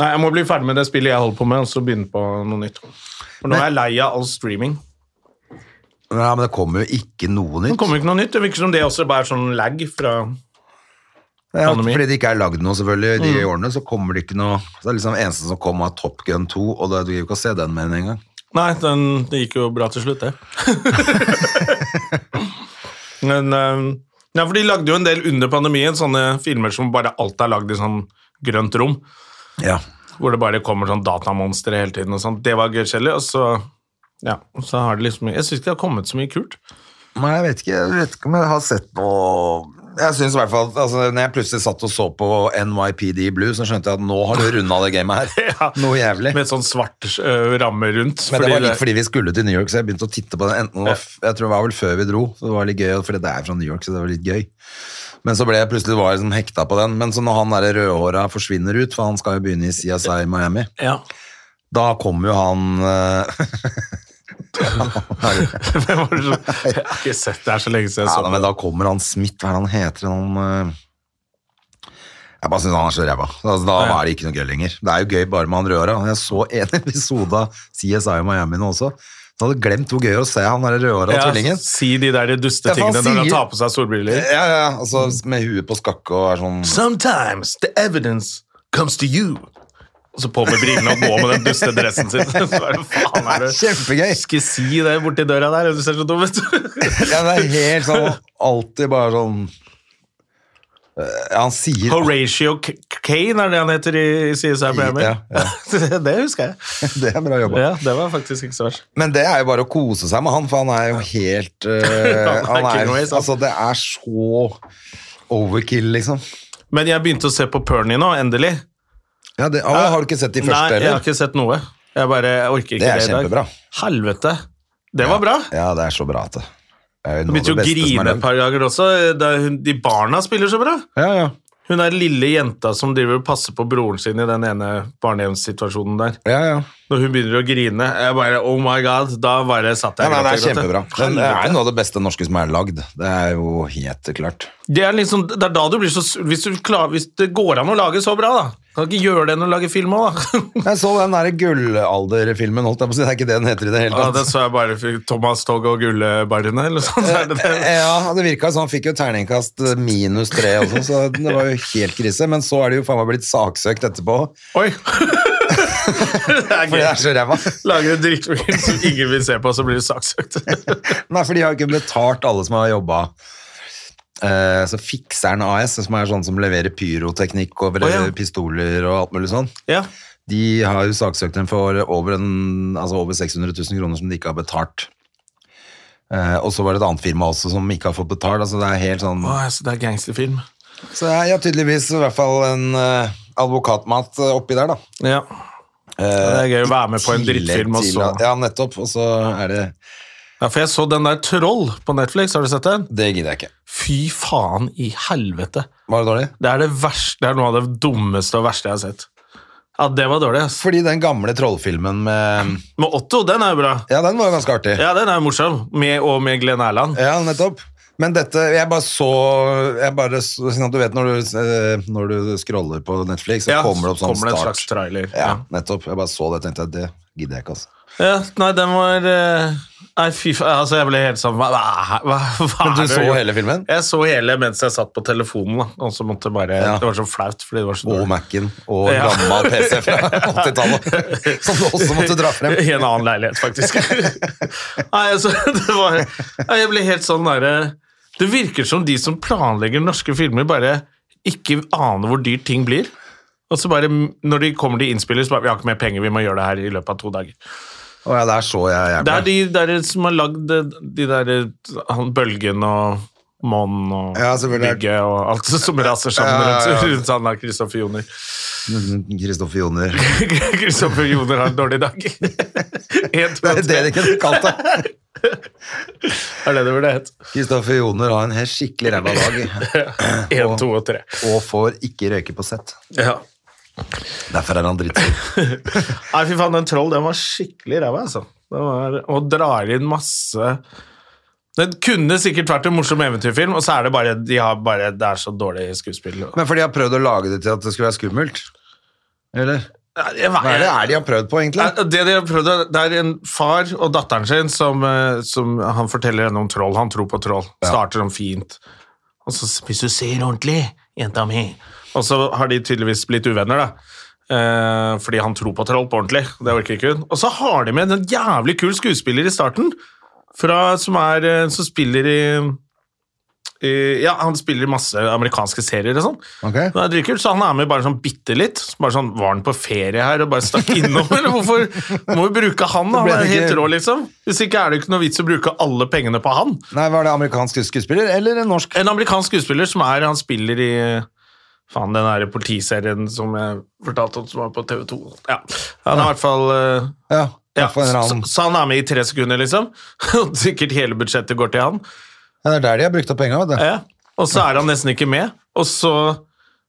Nei, jeg må bli ferdig med det spillet jeg holder på med, og så begynne på noe nytt. For nå er jeg lei av all streaming.
Ja, Men det kommer jo ikke noe
Det
nytt.
kommer ikke noe nytt. Det virker som det også bare er sånn lag fra
Ja,
pandemi.
fordi det ikke er lagd noe, selvfølgelig, de årene, så kommer det ikke noe Så det er liksom eneste som kom, var Top Gun 2, og det, du gidder jo ikke å se den mer enn en gang.
Nei, den, det gikk jo bra til slutt, det. Men eh, Ja, for de lagde jo en del under pandemien, sånne filmer som bare alt er lagd i sånn grønt rom,
Ja.
hvor det bare kommer sånn datamonstre hele tiden og sånn. Det var gøykjedelig, og så Ja, så har det liksom Jeg syns ikke det har kommet så mye kult.
Nei, jeg vet ikke, jeg vet ikke om jeg har sett noe Jeg synes i hvert fall, altså, når jeg plutselig satt og så på NYPD Blue, så skjønte jeg at nå har du rundet det gamet her.
Ja.
Noe jævlig. Men
Med sånn svart eh, ramme rundt.
det
fordi
var litt fordi vi skulle til New York, så jeg begynte å titte på den. Enten, det var f- jeg tror det var vel før vi dro, så det var litt gøy, for det er fra New York, så det var litt gøy. Men så ble jeg plutselig var jeg liksom hekta på den. Men så når han der rødhåra forsvinner ut, for han skal jo begynne i CSI Miami,
Ja.
da kommer jo han... eh,
Hvem var det som- Jeg har ikke sett det her så lenge siden jeg
Ja, da,
så det.
men da kommer han Smith, hva er det han heter? Han, eh, jeg bare synes han er så ræva. Altså, da
Ja.
er det ikke noe gøy lenger. Det er jo gøy bare med han rødhåra. Jeg så en episode av CSI Miami nå også. Så hadde jeg glemt hvor gøy å se han der rødhåra
Ja,
tvillingen.
si de der duste
Ja, for han
tingene når han
sier-
tar på seg solbriller.
Ja, ja, ja. Altså, med huet på skakke og er sånn
Sometimes the evidence comes to you. Og så på med brillene og gå med den duste dressen sin. Så er det faen er det
Kjempegøy.
Skal si det borti døra der, du ser så dum ut.
ja, Det er helt sånn Alltid bare sånn Eh, ja, Han sier
Horatio K Kane er det han heter i CSI Miami.
Ja,
det det husker jeg.
Det er bra jobba.
Ja, det var faktisk ikke så verst.
Men det er jo bare å kose seg med han, for han er jo helt eh,
Han er
han er,
Kilroy, sant?
Altså, det er så overkill, liksom.
Men jeg begynte å se på Pernie nå, endelig.
Ja, det, å, har du ikke sett de første,
Nei, jeg har
eller?
ikke sett noe. Jeg bare jeg orker ikke
Det
det,
er
i dag.
kjempebra.
Helvete. Det var bra.
Ja, det er så bra at det. det er jo
Jeg
noe av
begynte
det beste som
jo å
er
grine et
lagd.
par dager også. Da hun, de barna spiller så bra.
Ja, ja.
Hun er lille jenta som driver og passer på broren sin i den ene barnehjemssituasjonen der.
Ja, ja.
Når hun begynner å grine, jeg bare Oh my god. Da bare satt
Nei,
jeg
nei, det er
og gråt, jeg.
kjempebra. Men eh, det er
Helvete.
jo noe av det beste norske som er lagd. Det er jo helt klart.
Det er liksom, det er da du blir så sur- hvis, du klarer, hvis det går an å lage så bra, da. Kan du ikke gjøre det når du lager film òg, da?
Jeg så den der gullalderfilmen, holdt jeg på å si. Det er ikke det den heter i det hele
Ja,
tatt.
det så jeg bare for Thomas Togg og Gullebarrene, eller noe sånt. Er det det?
Ja, det virka sånn. Han fikk jo terningkast minus tre også, så det var jo helt krise. Men så er det jo faen meg blitt saksøkt etterpå,
Oi!
eh.
det
fordi
er
det er
gøy.
så ræva.
Lager en drittfilm som ingen vil se på, så blir du saksøkt.
Nei, for de har jo ikke betalt alle som har jobba. Eh, så Fikseren AS, som er sånn som leverer pyroteknikk over
Å, ja.
pistoler og alt mulig sånn,
ja.
de har jo saksøkt dem for over, en, altså over 600 000 kroner som de ikke har betalt. Eh, og så var det et annet firma også som ikke har fått betalt. Altså det er helt sånn
Å, altså, det er gangsterfilm.
Så jeg har tydeligvis i hvert fall en eh, advokatmat eh, oppi der, da.
Ja. det er gøy å være med på en
Tillegg
drittfilm og
Eh, til
så
at- Ja, nettopp. Og så er det
Ja, for jeg så den der Troll på Netflix, har du sett den?
Det gidder jeg ikke.
Fy faen i helvete.
Var det dårlig?
Det er det verste, det er noe av det dummeste og verste jeg har sett. Ja, det var dårlig, ass.
Fordi den gamle trollfilmen med
Men Otto, den er jo bra.
Ja, den var jo ganske artig.
Ja, den er jo morsom. Med, og med Glenn Erland.
Ja, nettopp. Men dette Jeg bare så jeg bare, så- sånn at Du vet når du, eh, når du scroller på Netflix, så
Ja,
kommer det opp sånn
kommer det en
start.
slags trailer.
Ja,
Ja.
nettopp. Jeg bare så det og tenkte jeg, det gidder jeg ikke, altså.
Ja, nei, den var eh, Nei, fy faen. Altså, jeg ble helt sånn Hva, hva, hva, hva
Men
er
du
det
så
gjort?
hele filmen?
Jeg så hele mens jeg satt på telefonen, da. Og så måtte jeg bare
Ja.
Det var så flaut, fordi det var så
Og
dårlig.
Mac-en og
Ja.
gammel PC fra 80-tallet, som du også måtte dra frem.
I en annen leilighet, faktisk. Nei, altså, det var Nei, Jeg ble helt sånn derre Det virker som de som planlegger norske filmer, bare ikke aner hvor dyrt ting blir. Og så bare, når de kommer til innspiller, så bare Vi har ikke mer penger, vi må gjøre det her i løpet av to dager.
Å ja, der så jeg
Det er
gjerne.
de der som har lagd de der han Bølgen og Monn og
Ja, selvfølgelig.
Bygge og alt som raser sammen
Ja, ja, ja.
rundt, rundt han der Kristoffer Joner.
Kristoffer Mm-hmm. Joner.
Kristoffer Joner har en dårlig dag. En, to,
Det er det
tre.
de kunne kalt det.
er det det burde hett.
Kristoffer Joner har en helt skikkelig ræva dag,
Én, to og tre.
og får ikke røyke på sett.
Ja.
Derfor er han drittsur.
Nei, fy faen, den troll, den var skikkelig ræva, altså. Den var, og drar inn masse Den kunne sikkert vært en morsom eventyrfilm, og så er det bare, de har bare Det er så dårlig skuespill.
Men for de har prøvd å lage det til at det skulle være skummelt? Eller?
Jeg vet-
Hva er det er de har prøvd på, egentlig?
Nei, Det de har prøvd, å- det er en far og datteren sin som, eh, som han forteller henne om troll. Han tror på troll. Starter om fint. Og så s- Hvis du ser ordentlig, jenta mi Og så har de tydeligvis blitt uvenner, da. Eh, fordi han tror på troll på ordentlig. Det orker ikke hun. Og så har de med en jævlig kul skuespiller i starten, fra, som, er, eh, som spiller i i- ja, Han spiller i masse amerikanske serier og sånn.
Ok.
Det er dritkult, så han er med bare sånn bitte litt. Så Bare sånn, Var han på ferie her og bare stakk innom, eller hvorfor må vi bruke han? da? Han
ble
er
det ikke-
helt rå, liksom. Hvis ikke er det jo ikke noe vits å bruke alle pengene på han.
Nei, Var det amerikansk skuespiller eller en norsk?
En amerikansk skuespiller som er Han spiller i Faen, den der politiserien som jeg fortalte om som var på TV 2. Ja, han er i hvert fall eh,
Ja,
ja,
for en eller
så,
annen.
så han er med i tre sekunder, liksom. Og sikkert hele budsjettet går til han.
Ja, det er der de har brukt opp penga, vet du.
Ja. Og så er han nesten ikke med. Og så,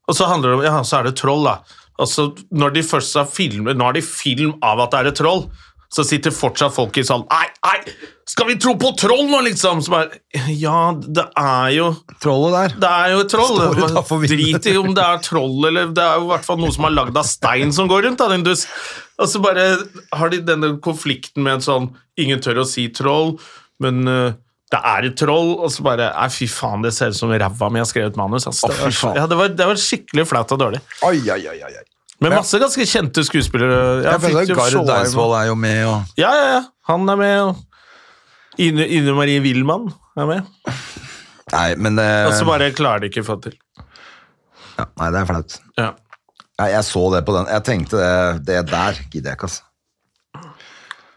og så handler det om Ja, så er det troll, da. Og så når de først har filmer, nå har de film av at det er et troll, så sitter fortsatt folk i sånn Nei, nei! Skal vi tro på troll nå, liksom? Så bare Ja, det er jo
Trollet der.
det er jo et troll.
Står utenfor vinduet.
Drit i om det er troll eller Det er jo i hvert fall noe som er lagd av stein som går rundt. Da, den dus. Og så bare har de denne konflikten med en sånn Ingen tør å si troll, men eh, det er et troll. Og så bare Nei, fy faen, det ser ut som ræva mi har skrevet manus. ass.
Å,
Det,
fy
var,
faen.
ja, det, var, det var skikkelig flaut og dårlig.
Oi, oi, oi, oi. oi.
Men masse ganske kjente skuespillere.
Ja,
Jeg
for det
fikk
er
jo
Gareth
Sjåheim.
Deisvold er jo med, og
Ja, ja, ja. Han er med. og Ine, Ine Marie Wilman er med.
Nei, men det
Og så bare klarer de ikke å få til.
ja, Nei, det er flaut.
Ja.
Nei, jeg så det på den. Jeg tenkte det, det der gidder jeg ikke, altså.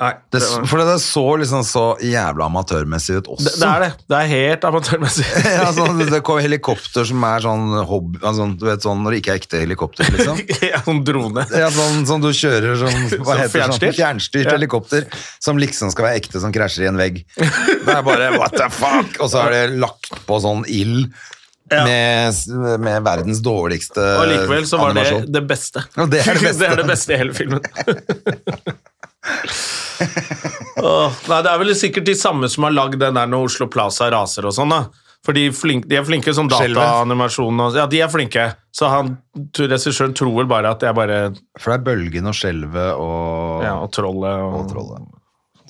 Nei,
Det,
det var-
for det så liksom så jævla amatørmessig ut også.
Det, det er det. Det er helt amatørmessig.
ja, sånn, det kom helikopter som er sånn hobby altså, Du vet sånn når det ikke er ekte helikopter, liksom.
Ja, Sånn drone.
Ja, sånn som du kjører som, hva
Som
heter, det,
fjernstyrt?
sånn, fjernstyrt
Ja.
helikopter, som liksom skal være ekte, som krasjer i en vegg. Det er bare what the fuck! Og så er det lagt på sånn ild
Ja.
med, med verdens dårligste
Og likevel så var det
Eh, animasjon.
det beste.
Ja, det er det beste.
det beste i hele filmen. Åh, nei, det er vel sikkert de samme som har lagd den der når Oslo Plaza raser og sånn, da. For de, er flink, de er flinke som
Skjelvet.
dataanimasjon og Ja, de er flinke. Så han, regissøren tror vel bare at jeg bare
For det er bølgen og skjelvet og,
Ja, og trollet og,
og trollet.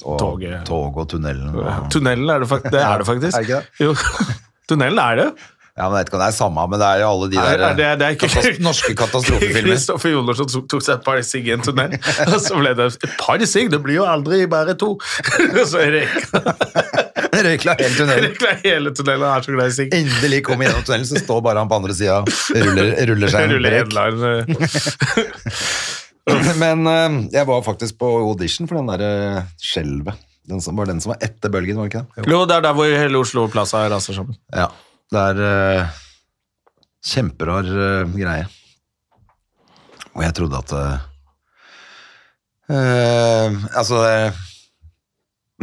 Og
Toget.
tog og tunnelen. Og, ja,
Tunnelen er det, fak- det, er det faktisk.
Er det ikke det?
Jo. Tunnelen er det.
men jeg vet ikke om det er samme, men det er jo alle de
Er,
der
er det, det er ikke
katas- norske katastrofefilmer.
Kristoffer Jonersen tok, tok seg et par sigg i en tunnel, og så ble det et par sigg, det blir jo aldri bare to. Og så røyka
Røykla hele tunnelen.
røyka hele tunnelen, han er så glad i sigg.
Endelig kom gjennom tunnelen, så står bare han på andre sida og ruller, ruller seg en
Ruller
røyk.
Edlar, eh,
Men eh, jeg var faktisk på audition for den der eh, skjelvet. Den som var den som var etter bølgen, var det ikke det?
Jo, det er der hvor hele Oslo Plaza raser sammen.
Ja. Det er eh, kjemperar eh, greie. Og jeg trodde at eh, eh, Altså eh,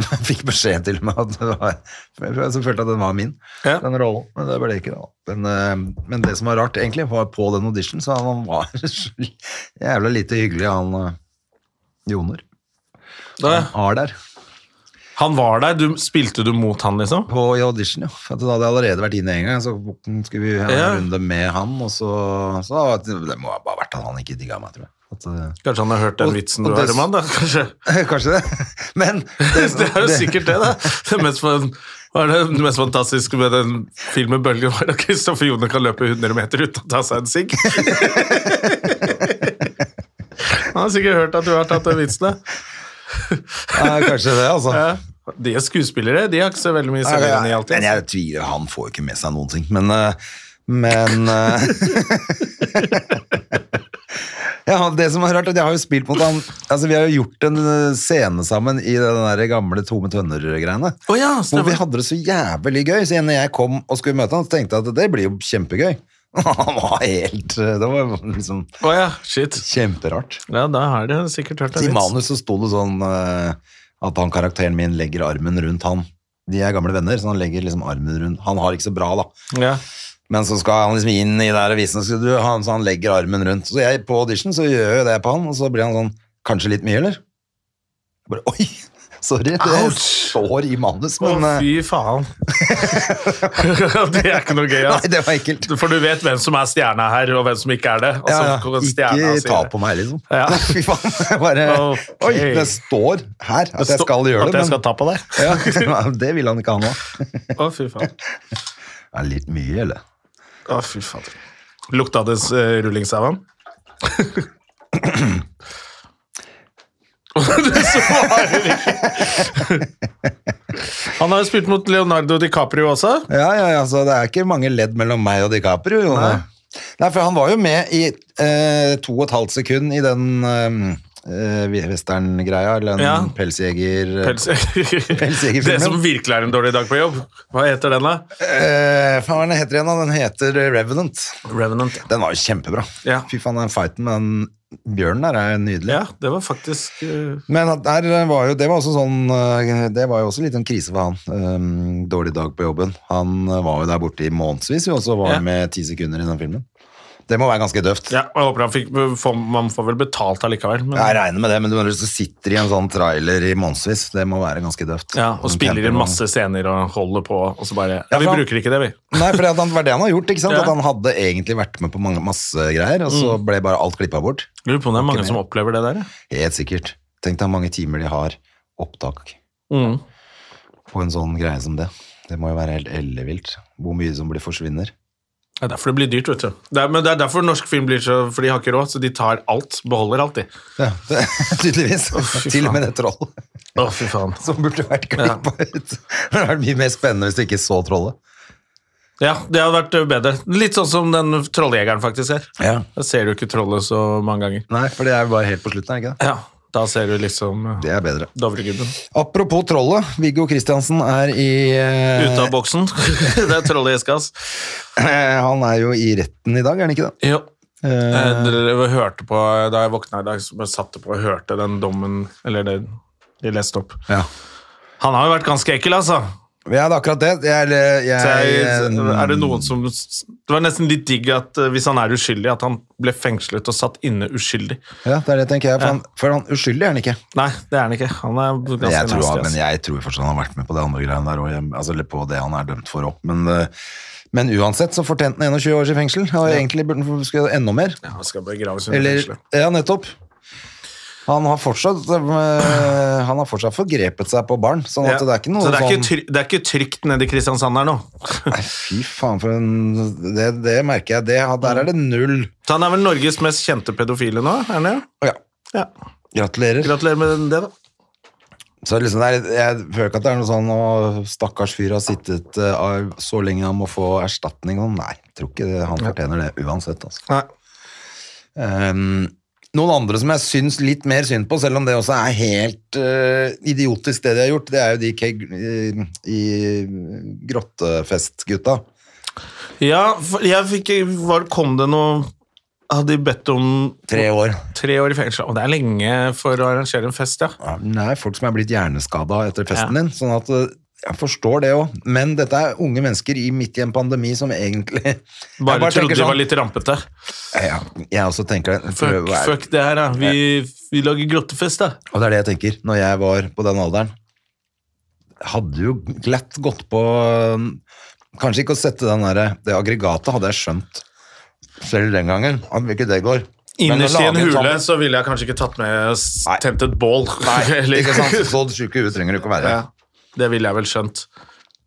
Jeg fikk beskjed til meg at det var Jeg så følte at den var min,
Ja.
den rollen. Men det ble det ikke, da. Men, eh, men det som var rart, egentlig, var på den audition, så han var så jævla lite hyggelig, han eh, Joner.
Da,
Har der.
han var der. Du, spilte du mot han, liksom?
På i audition, ja. For at da hadde jeg allerede vært inne en gang, så skulle vi ha en
Ja. runde
runde med han, og så, Det må ha bare vært han han ikke digga meg, tror jeg.
Kanskje han har hørt den
Og-
vitsen
og
du
det-
hører, mann? da, Kanskje.
eh, Kanskje det. Men
Det er jo sikkert det, da. Det mest, fan- hva er det mest fantastiske med den filmen Bølgen var at Kristoffer Joner kan løpe 100 meter uten å ta seg en sigg. Han har sikkert hørt at du har tatt den vitsen. da.
Ja, kanskje det, altså.
Ja. De er skuespillere, de har ikke så veldig
Ja,
mye
ja,
selvironi
ja.
alltid.
Men jeg tviler, han får jo ikke med seg noen ting. Men, eh, men eh, ja, Det som er rart, er at jeg har jo spilt mot han Altså, Vi har jo gjort en eh, scene sammen i den der gamle Tome Tønner-greiene.
Å ja,
Hvor vi
stemmer.
hadde det så jævlig gøy. Så når jeg kom og skulle møte han, så tenkte jeg at det blir jo kjempegøy. Han var helt eh, Det var liksom
Å ja, shit.
kjemperart.
Ja, da har de sikkert hørt
Så I
en vits.
manus så sto det sånn eh, at han karakteren min legger armen rundt han. De er gamle venner, så han legger liksom armen rundt Han har ikke så bra, da.
Ja.
Men så skal han liksom inn i der avisen, så, du, han, så han legger armen rundt. Så jeg på audition så gjør jeg det på han, og så blir han sånn Kanskje litt mye, eller? Jeg bare, Oi! Sorry, det
Ouch!
står i manus,
Å,
men eh,
fy faen. det er ikke noe gøy,
eh,
ass.
Nei, det var ekkelt.
For du vet hvem som er stjerna her, og hvem som ikke er det. Og så
Ja, ja.
kommer stjerna og
Ikke
sier
ta
det.
på meg, liksom.
Ja.
Fy faen. jeg Bare,
Ok.
Oi, det står her at jeg
står-
skal gjøre
At
det,
jeg skal ta på deg.
men ja, det vil han ikke ha nå.
Å, fy faen.
Det er litt mye, eller?
Å, fy faen. Lukta det eh, rullings av ham? du svarer ikke! Han har jo spilt mot Leonardo DiCaprio også.
Ja, ja, ja, så det er ikke mange ledd mellom meg og DiCaprio. Jone.
Nei.
Nei, for han var jo med i eh, to og et halvt sekund i den eh, western-greia, eller den
Ja.
pelsjeger...
Pels-
Pelsjegerfilmen.
det som virkelig er en dårlig dag på jobb. Hva heter den, da?
Eh, faen, hva er den heter igjen da? Den heter Revenant.
Revenant. ja.
Den var jo kjempebra.
Ja.
Fy faen, den fighten med den bjørnen der er jo nydelig.
Ja, det var faktisk eh,
Men at der var jo, det var også sånn eh, Det var jo også litt sånn krise for han. Ehm, dårlig dag på jobben. Han eh, var jo der borte i månedsvis, jo, og så var
Ja.
han med ti sekunder i den filmen. Det må være ganske døvt.
Ja, jeg håper han fikk får- Man får vel betalt allikevel. Men,
Jeg regner med det, men du når du sitter i en sånn trailer i månedsvis, det må være ganske døvt.
ja, og
Sånn
spiller inn
campingvogn.
masse scener og holder på, og så bare Ja, vi
for han-
bruker ikke det, vi.
Nei, for det at han- var det han har gjort, ikke sant?
Ja. Mm.
At han hadde egentlig vært med på mange, masse greier, og så ble bare alt klippa bort.
Lurer på om det er mange som opplever det der. ja.
Helt sikkert. Tenk deg hvor mange timer de har opptak
Mm.
på en sånn greie som det. Det må jo være helt ellevilt hvor mye som blir forsvinner.
Det er derfor det blir dyrt, vet du. Det er, men det er derfor norsk film blir så For de har ikke råd, så de tar alt. Beholder alt, de.
Ja, det, tydeligvis.
fy
Til og
faen.
med det troll
Å, fy faen.
som burde vært klippa ut. Det hadde vært mye mer spennende hvis du ikke så trollet.
Ja, det hadde vært bedre. Litt sånn som den trolljegeren faktisk er. Da ser du ikke trollet så mange ganger.
Nei, for det er jo bare helt på slutten, er det ikke det?
Ja, Da ser du liksom eh,
Det er bedre.
Dovregubben.
Apropos trollet. Viggo Kristiansen er i eh,
Ute av boksen. det er trollet i eska, ass.
Han er jo i retten i dag, er han ikke det?
Jo.
Eh,
Jeg drev og hørte på, da jeg våkna i dag, så bare satte jeg på og hørte den dommen Eller det de leste opp.
ja.
Han har jo vært ganske ekkel, altså.
ja, det er akkurat det. Jeg, jeg,
Så jeg,
jeg, mm,
er det noen som Det var nesten litt digg at eh, hvis han er uskyldig, at han ble fengslet og satt inne uskyldig.
Ja, det er det tenker jeg. For han, for han uskyldig er han ikke.
Nei, det er han ikke. Han er ganske
Jeg tror,
nasty, altså.
han-
ass.
men jeg tror fortsatt han har vært med på det andre greiene der òg, altså, eller på det han er dømt for òg. Men, eh, men uansett så fortjente han 21 års i fengsel, og egentlig burde han få enda mer.
Ja, han skal begraves under
Eller,
fengselet.
ja, nettopp. Han har fortsatt eh, Han har fortsatt forgrepet seg på barn, sånn at
Ja.
det er ikke noe
Så det er ikke,
sånn
tryg, det er ikke trygt nede i Kristiansand her nå.
Nei, fy faen, for en Det, det merker jeg. Det, der er det null.
Så han er vel Norges mest kjente pedofile nå? er han det?
Ja,
Ja.
gratulerer.
Gratulerer med det, da.
Så liksom det er, jeg føler ikke at det er noe sånn å, stakkars fyr har sittet eh, av så lenge han må få erstatning. Og sånn. nei, jeg tror ikke det, han fortjener det uansett. Altså.
Nei.
Ehm, noen andre som jeg syns litt mer synd på, selv om det også er helt eh, idiotisk det de har gjort, det er jo de keg, i, i Grottefest-gutta.
Ja, for jeg fikk Var, kom det noe hadde de bedt om
Tre år.
tre år i fengsel. Og det er lenge for å arrangere en fest, ja.
Ja, men det er folk som er blitt hjerneskada etter festen
Ja.
din, sånn at eh, jeg forstår det òg, men dette er unge mennesker i midt i en pandemi som egentlig Jeg
Bare, trodde
tenker
de
sånn-
var litt rampete.
Ja, jeg også tenker det.
Fuck,
Prøv å være-
fuck det her, da. Vi, vi lager grottefest, da.
Og det er det jeg tenker, når jeg var på den alderen, hadde jo glatt gått på øhm, Kanskje ikke å sette den der, det aggregatet, hadde jeg skjønt selv den gangen. at Ikke det går. Men å
Innerst i
lage
en
en
hule
sånn-
så ville jeg kanskje ikke tatt med s-
Nei.
tent et bål. Eller-
Ikke sant? Så sjuk i huet trenger du ikke å være.
Ja, det ville jeg vel skjønt.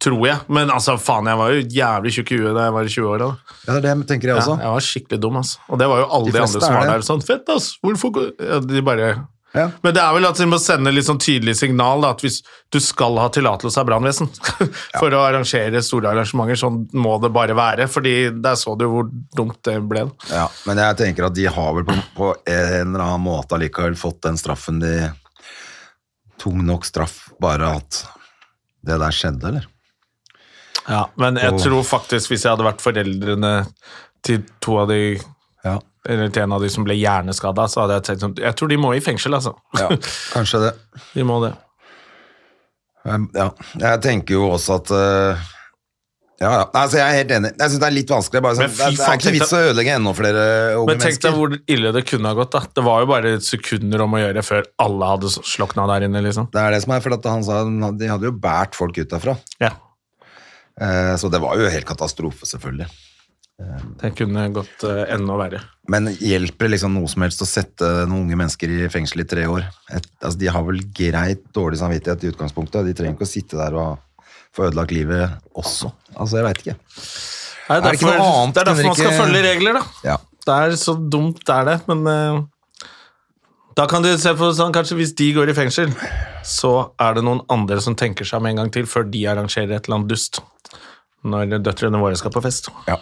Tror jeg. Men altså, faen, jeg var jo jævlig tjukk i huet da jeg var i 20-åra. da.
Ja, det er det tenker jeg
Ja,
også.
jeg var skikkelig dum, altså. Og det var jo alle
De
de,
fleste
andre som
er
var
det.
der. Sånn, fett, ass! Hvorfor går-" ja, De bare
Ja.
Men det er vel at de må sende litt sånn tydelig signal da, at hvis du skal ha tillatelse av brannvesen for å arrangere store arrangementer, sånn må det bare være. Fordi der så du hvor dumt det ble. da.
Ja, men jeg tenker at de har vel på, på en eller annen måte allikevel fått den straffen de Tung nok straff, bare at det der skjedde, eller?
Men jeg
Og-
tror faktisk, hvis jeg hadde vært foreldrene til to av de
Ja.
eller til en av de som ble hjerneskada, så hadde jeg tenkt sånn Jeg tror de må i fengsel, altså.
ja kanskje det.
De må det.
Um, Ja, jeg tenker jo også at uh, ja, ja. Nei, altså, jeg er helt enig. Jeg synes det er litt vanskelig. Bare, sånn,
Men fy
det, er- det
faen,
er ikke
tenk
vits å ødelegge enda flere eh, unge
Men tenk deg
mennesker.
hvor ille det kunne ha gått. da. Det var jo bare sekunder om å gjøre før alle hadde slokna der inne. liksom.
Det er det som er, for at han sa han hadde- de hadde jo bært folk ut derfra.
Ja,
Eh, så det var jo helt katastrofe, selvfølgelig.
Det kunne gått eh, enda verre.
Men hjelper det liksom noe som helst å sette noen unge mennesker i fengsel i tre år? Et, altså, de har vel greit dårlig samvittighet i utgangspunktet. De trenger ikke å sitte der og få ødelagt livet også. Altså, jeg veit ikke.
Nei,
Er det ikke
derfor,
noe annet?
det er derfor
Kunne
man skal
ikke-
følge regler, da.
Ja.
Det er så dumt, det er det, men eh, da kan du se på sånn, kanskje hvis de går i fengsel, så er det noen andre som tenker seg om en gang til før de arrangerer et eller annet dust. Når døtrene våre skal på fest.
Ja.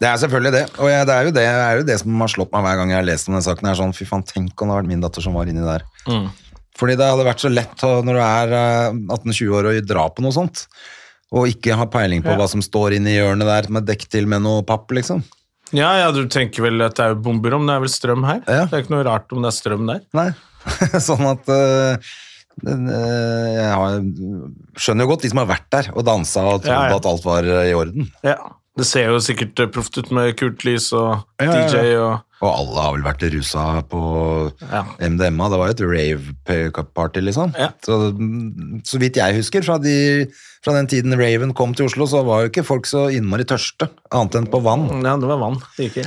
Det er selvfølgelig det, og jeg, det, er jo det, det er jo det som har slått meg hver gang jeg har lest om den saken. her, sånn, Fy faen, tenk om det hadde vært min datter som var inni der.
Mm.
Fordi det hadde vært så lett å- når du er eh, 18-20 år og dra på noe sånt, og ikke ha peiling på hva som står inni hjørnet der med dekk til med noe papp, liksom.
Ja, ja, du tenker vel at det er bomber om, det er vel strøm her?
Ja.
Det er ikke noe rart om det er strøm der.
Nei. sånn at eh, den, eh, jeg har, skjønner jo godt de som har vært der og dansa og trodd
Ja, ja.
at alt var eh, i orden.
Ja. Det ser jo sikkert eh, proft ut med kult lys og
Ja, ja, ja.
DJ og
Og alle har vel vært rusa på
Ja.
MDMA. Det var jo et rave-party, liksom.
Ja.
Så, så vidt jeg husker, fra, de, fra den tiden Raven kom til Oslo, så var jo ikke folk så innmari tørste, annet enn på vann.
Ja, det var vann. Det gikk i.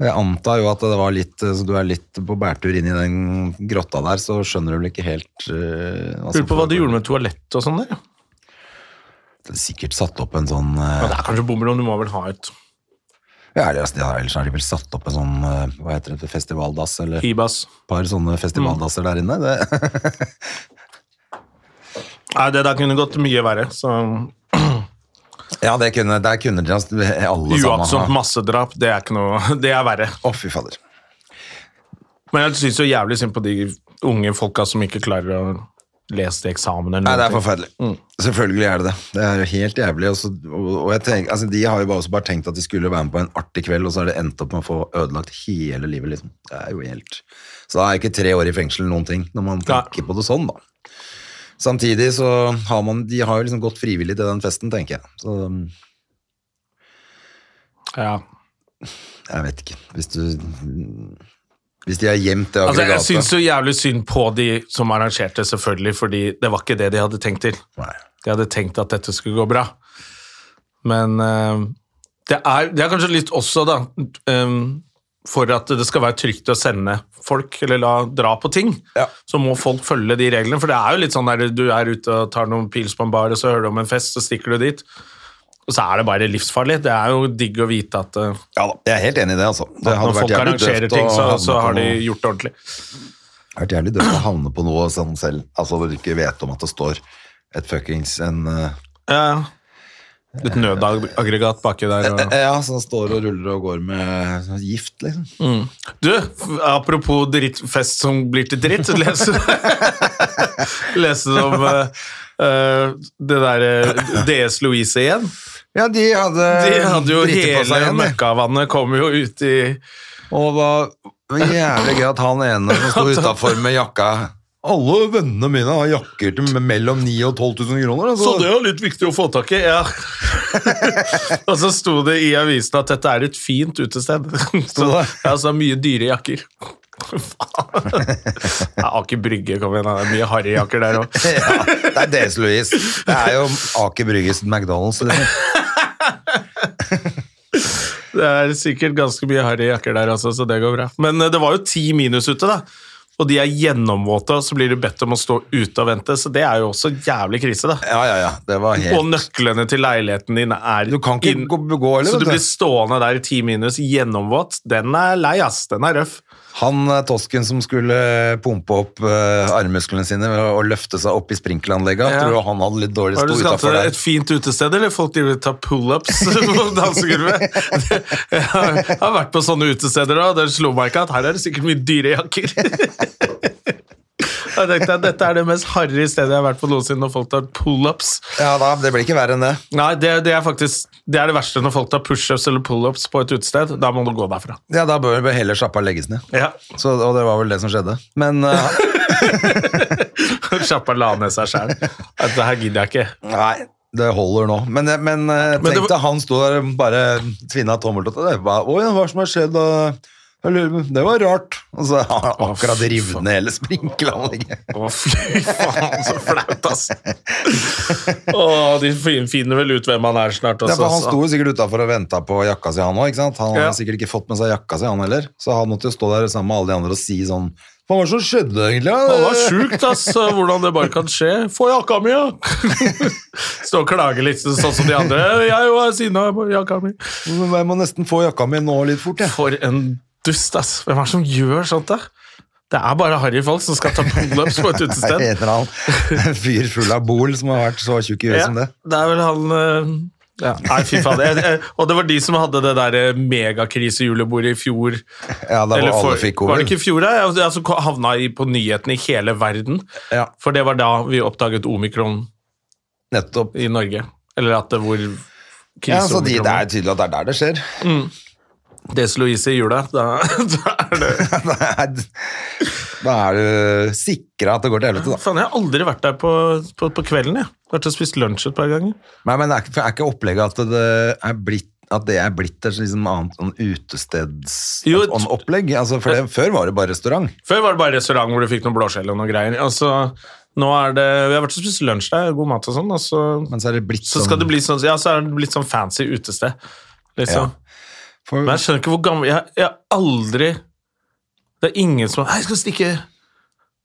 Jeg antar jo at det var litt, så du er litt på bærtur inn i den grotta der, så skjønner du vel ikke helt eh, hva
Lurer på hva de gjorde med toalett og sånn der. ja.
Sikkert satt opp en sånn
Men
eh,
det er kanskje bomber om, du må vel ha et
Ja, eller, altså, de har- ellers har de vel satt opp en sånn eh, Hva heter det, festivaldass, eller
hibas.
et par sånne
Mm.
festivaldasser der inne. Det,
Nei, det der kunne gått mye verre, så
ja, det kunne, der kunne de altså, alle
Uaktsomt
sammen ha
massedrap, det er ikke noe Det er verre.
Å, fy fader.
Men jeg syns jo jævlig synd på de unge folka som ikke klarer å lese til eksamen eller
Nei, det er
noe.
forferdelig. Selvfølgelig er det det. Mm. Det er jo helt jævlig. Og så, og, og jeg tenker, altså, de har jo bare, også bare tenkt at de skulle være med på en artig kveld, og så har det endt opp med å få ødelagt hele livet, liksom. Det er jo helt Så da er ikke tre år i fengsel noen ting, når man tenker på det sånn, da. Samtidig så har man De har jo liksom gått frivillig til den festen, tenker jeg. Så um, jeg
Ja.
vet ikke. Hvis du Hvis de har gjemt det
Altså, jeg
aggregatet
syns jo jævlig synd på de som arrangerte, selvfølgelig, fordi det var ikke det de hadde tenkt til.
Nei.
De hadde tenkt at dette skulle gå bra. Men eh, det, er, det er kanskje litt også, da eh, For at det skal være trygt å sende folk, eller la dra på ting,
Ja.
så må folk følge de reglene. For det er jo litt sånn der du er ute og tar noen pils på en bar, og så hører du om en fest, så stikker du dit. Og så er det bare livsfarlig. Det er jo digg å vite at eh,
Ja da, jeg er helt enig i det, altså. Det
når folk arrangerer ting, så, så har de gjort det ordentlig.
Det har vært jævlig dødt å havne på noe sånn selv, altså hvor du ikke vet om at det står et fuckings en eh,
Ja. Litt nødaggregat baki der. Og...
eh, Ja, som står og ruller og går med gift, liksom.
Du, f- apropos drittfest som blir til dritt, leste leste du om eh, eh, det der eh, DS Louise igjen?
Ja, de hadde
De hadde jo
dritt Eh, på seg
hele
igjen, de.
møkkavannet kom jo ut i
Og det var jævlig gøy at han ene som sto utafor med jakka Alle vennene mine har jakker til mellom 9000 og 12 000 kroner. altså.
Så det er jo litt viktig å få tak i, ja. og så sto det i avisen at dette er et fint utested. så,
det?
ja, så mye dyre jakker. Faen. Ja, Aker Brygge, kom igjen. da. Det er mye harryjakker der òg.
ja, det er deres Louise. Det er jo Aker Brygges McDonald's. liksom. eller?
Det er sikkert ganske mye harryjakker der også, så det går bra. Men eh, det var jo ti minus ute, da. Og de er gjennomvåte, og så blir du bedt om å stå ute og vente, så det er jo også jævlig krise, da.
Ja, ja, ja. Det var helt
Og nøklene til leiligheten din er
Du kan ikke
inn-
gå- gå, eller,
Så
vet
du
du.
blir stående der i ti minus, gjennomvåt. Den er lei, ass. Den er røff.
Han eh, tosken som skulle pumpe opp eh, armmusklene sine ved å- og løfte seg opp i sprinkleranlegget,
Ja.
tror jeg han hadde litt dårlig
Har du
stå
skapt
utafor
deg
der.
et fint utested, eller folk driver og tar pullups på dansegulvet? Jeg har jeg har vært på sånne utesteder, og det slo meg ikke at her er det sikkert mye dyre jakker. Jeg tenkte at Dette er det mest harry stedet jeg har vært på noensinne, når folk tar pullups.
Ja, da, Det blir ikke verre enn det.
Nei, det, det er faktisk det er det verste når folk tar pushups eller pullups på et utested. Da må du gå derfra.
Ja, Da bør bør heller sjappa legges ned.
Ja.
Så, og det var vel det som skjedde. Men eh,
Sjappa la ned seg sjæl. Dette her gidder jeg ikke.
Nei, det holder nå. Men, men eh,
Men det
tenk
var-
deg, han sto der og bare tvinna tommeltott. og Det var, Oi, hva som har skjedd? Og, jeg lurer- det var rart. Og så har han akkurat revet ned hele sprinkleranlegget.
Å, fy faen, så flaut, ass. Å, de fin- finner vel ut hvem han er snart
Ja,
også.
for han
Altså, så-
sto jo sikkert utafor og venta på jakka si, han òg. Han
Ja.
har sikkert ikke fått med seg jakka si, han heller. Så han måtte jo stå der sammen med alle de andre og si sånn Hva var det som skjedde, egentlig?
Det var sjukt, ass, hvordan det bare kan skje. Få jakka mi, ja! Stå og klage litt, sånn som de andre. Jeg var sinna på jakka mi.
Jeg må nesten få jakka mi nå litt fort, jeg.
For en dust, ass. Hvem er det som gjør sånt, da? Det er bare harry folk som skal ta pullups på et
En
utested.
eller annen fyr full av bol som har vært så tjukk i huet
Ja,
som det.
det er vel han eh, ja. Nei, fy faen. Jeg, jeg, og det var de som hadde det der eh, megakrisejulebordet i fjor.
Ja, da
Eller
var
for-
alle fikk
Var
covid.
det ikke i fjor, da? Jeg, jeg, så havna jeg på nyhetene i hele verden.
Ja.
For det var da vi oppdaget omikron
Nettopp.
i Norge. Eller at det hvor
Ja, så de,
kriseomikron
Det er
var.
tydelig at det er der det skjer.
Des Louise i jula. Da, da er det
Da er, da er du sikra at det går til helvete, da.
Faen, jeg har aldri vært der på, på, på kvelden, jeg. Vært og spist lunsj et par ganger.
Nei, men er, ikke- er ikke opplegget at det er blitt at det er blitt et liksom annet sånn
Jo,
utestedsopplegg? Altså, for det, før var det bare restaurant.
Før var det bare restaurant hvor du fikk noen blåskjell og noen greier. Altså, nå er det, Vi har vært og spist lunsj der, god mat og sånn, og så,
Men så er det blitt
så skal det bli sånn, ja, så er det blitt sånn fancy utested. Liksom.
Ja. for,
Men jeg skjønner ikke hvor gammel Jeg jeg har aldri Det er ingen som Hei, skal vi stikke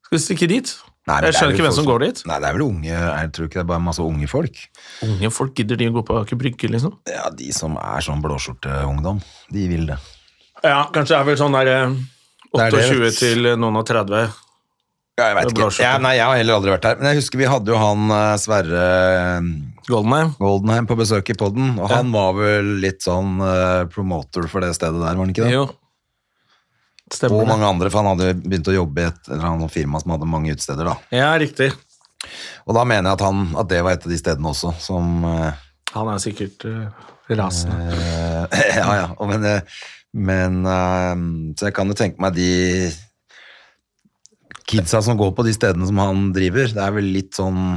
Skal vi stikke dit?
Nei, men
jeg
det er
skjønner
jo
ikke hvem
folk
som går dit.
Nei, det er vel unge Jeg tror ikke det er bare masse unge folk.
Unge folk gidder de å gå på Aker Brygge, liksom?
Ja, De som er sånn blåskjorteungdom, de vil det.
Ja, kanskje det er vel sånn der eh,
Det er det,
28
vet du.
til eh, noen og 30.
Ja, jeg vet
Det er
ikke.
blåskjorte.
Ja, nei, jeg har heller aldri vært her. Men jeg husker vi hadde jo han eh, Sverre eh,
Goldenheim.
Goldenheim på besøk i podden, og
Ja.
han var vel litt sånn eh, promoter for det stedet der, var han ikke det?
Jo.
Og
Stemmer det.
mange andre, for han hadde begynt å jobbe i et eller annet firma som hadde mange utsteder da.
Ja, riktig.
Og da mener jeg at, han, at det var et av de stedene også, som... eh,
Han er sikkert eh, rasende.
ja, ja, og men... eh, men eh, så jeg kan jo tenke meg de kidsa som går på de stedene som han driver, det er vel litt sånn...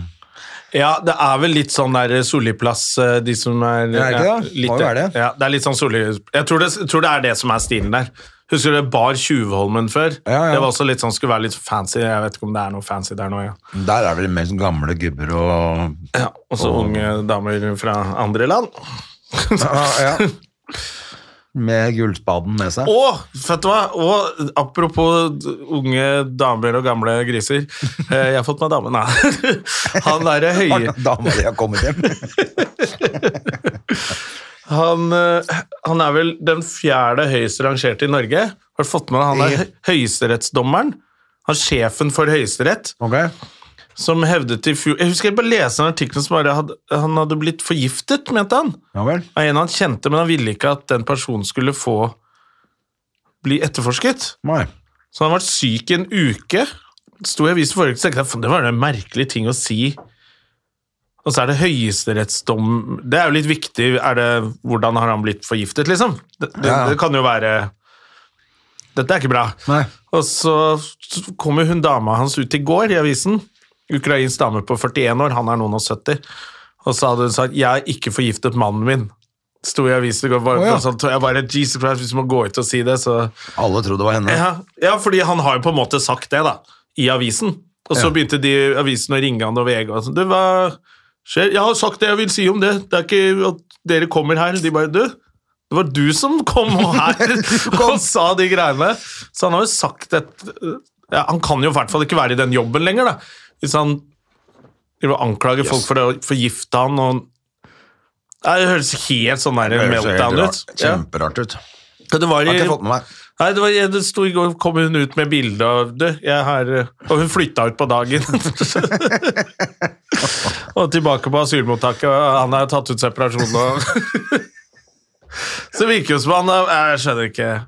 Ja, det er vel litt sånn der Solliplass, eh, de som er
Ja, er det ikke
ja,
det?
litt-
Må jo være det.
Ja, det er litt sånn Solli... Jeg tror det, jeg tror det er det som er stilen der. Husker du det Bar Tjuvholmen før?
Ja, ja.
Det var også litt sånn, skulle være litt fancy. Jeg vet ikke om det er noe fancy der nå, ja.
Der er vel mer sånn gamle gubber og...
ja også unge damer fra andre land.
Ja, ja. Med gullspaden med seg.
Og, vet du hva? Og apropos d- unge damer og gamle griser. Eh, jeg har fått meg dame, nei. Han derre høye
Dama di har kommet hjem.
han, eh, han er vel den fjerde høyest rangerte i Norge. Har du fått med deg han der hø- høyesterettsdommeren? Han sjefen for Høyesterett,
Ok.
som hevdet i fjor Jeg husker jeg bare leste en artikkel som bare hadde, han hadde blitt forgiftet, mente han.
Ja vel.
Av en han kjente, men han ville ikke at den personen skulle få bli etterforsket.
Nei.
Så han har vært syk i en uke. Sto i avisen forrige uke, så tenkte jeg "Fan, det var en merkelig ting å si. Og så er det høyesterettsdom Det er jo litt viktig. Er det, hvordan har han blitt forgiftet, liksom? Det, det,
Ja.
det kan jo være Dette er ikke bra.
Nei.
Og så kom jo hun dama hans ut i går i avisen. Ukrainsk dame på 41 år, han er noen og 70. Og så hadde hun sagt 'jeg har ikke forgiftet mannen min'. Sto i avisen i går. Bare,
Å, ja.
sånn, jeg bare, Jesus Christ, Hvis man går ut og sier det, så
Alle trodde det var henne.
ja, ja, fordi han har jo på en måte sagt det da, i avisen. Og så
Ja. begynte
begynte de i avisen å ringe han og VG og sånn, du, hva skjer? Jeg har sagt det jeg vil si om det, det er ikke at dere kommer her. De bare, du, det var du som kom her og sa de greiene. Så han har jo sagt et, ja, han kan jo i hvert fall ikke være i den jobben lenger da, hvis han driver og anklager folk for å forgifte han og Nei, det høres helt sånn der
Det høres helt
meltdown ut.
rart-
Ja.
Kjemperart ut.
Det var i,
Har ikke fått med meg.
Nei, det, var, det sto i går, kom hun ut med bilde av det. Jeg har, eh», og hun flytta ut på dagen. og tilbake på asylmottaket. og Han har tatt ut separasjon og Så det virker jo som han er- Jeg skjønner ikke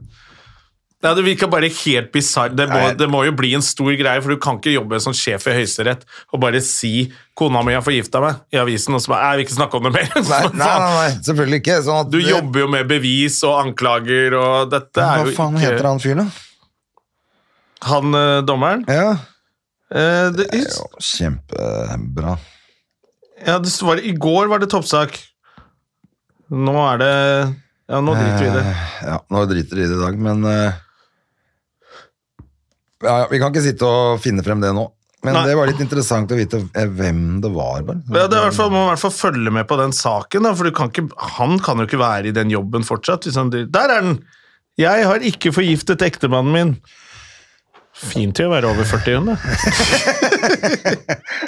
ja, Det virka bare helt bisarr. Det, må-
Nei.
det må jo bli en stor greie, for du kan ikke jobbe som sjef i Høyesterett og bare si 'kona mi har forgifta meg' i avisen, og så bare 'jeg vil ikke snakke om det mer'.
Nei,
Hva
nei,
faen?
nei, nei, selvfølgelig ikke. Sånn at
Du jobber jo med bevis og anklager, og dette er jo
Hva faen
ikke
heter han fyren, da?
Han eh, dommeren?
Ja.
Eh, det,
Jo, Kjempebra.
ja, det var, I går var det toppsak. Nå er det Ja, nå driter vi i det.
Eh, Ja, nå driter de i det i dag, men eh, ja, ja, Vi kan ikke sitte og finne frem det nå. Men
Nei.
det var litt interessant å vite eh, hvem det var, bare.
Ja, det er i hvert fall, må i hvert fall følge med på den saken, da, for du kan ikke, han kan jo ikke være i den jobben fortsatt. Hvis han, driver- der er den! Jeg har ikke forgiftet ektemannen min. Fint til å være over 40, hun,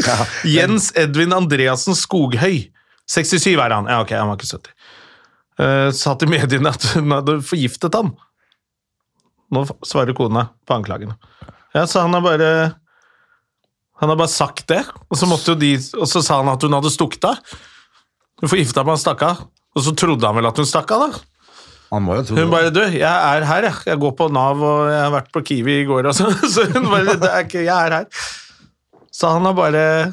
da. Jens Edvin Andreassen Skoghøy. 67 er han. Ja, ok, han var ikke 70. Eh, sa til mediene at hun hadde forgiftet han. Nå svarer kona på anklagene. Ja, så han har bare Han har bare sagt det, og så, måtte jo de, og så sa han at hun hadde stukket av. Hun forgifta meg og stakk av. Og så trodde han vel at hun stakk av, da.
Han må jo tro
Hun bare 'Du, jeg er her, jeg. Jeg går på Nav, og jeg har vært på Kiwi i går', og så, så hun bare det er ikke, 'Jeg er her'. Så han har bare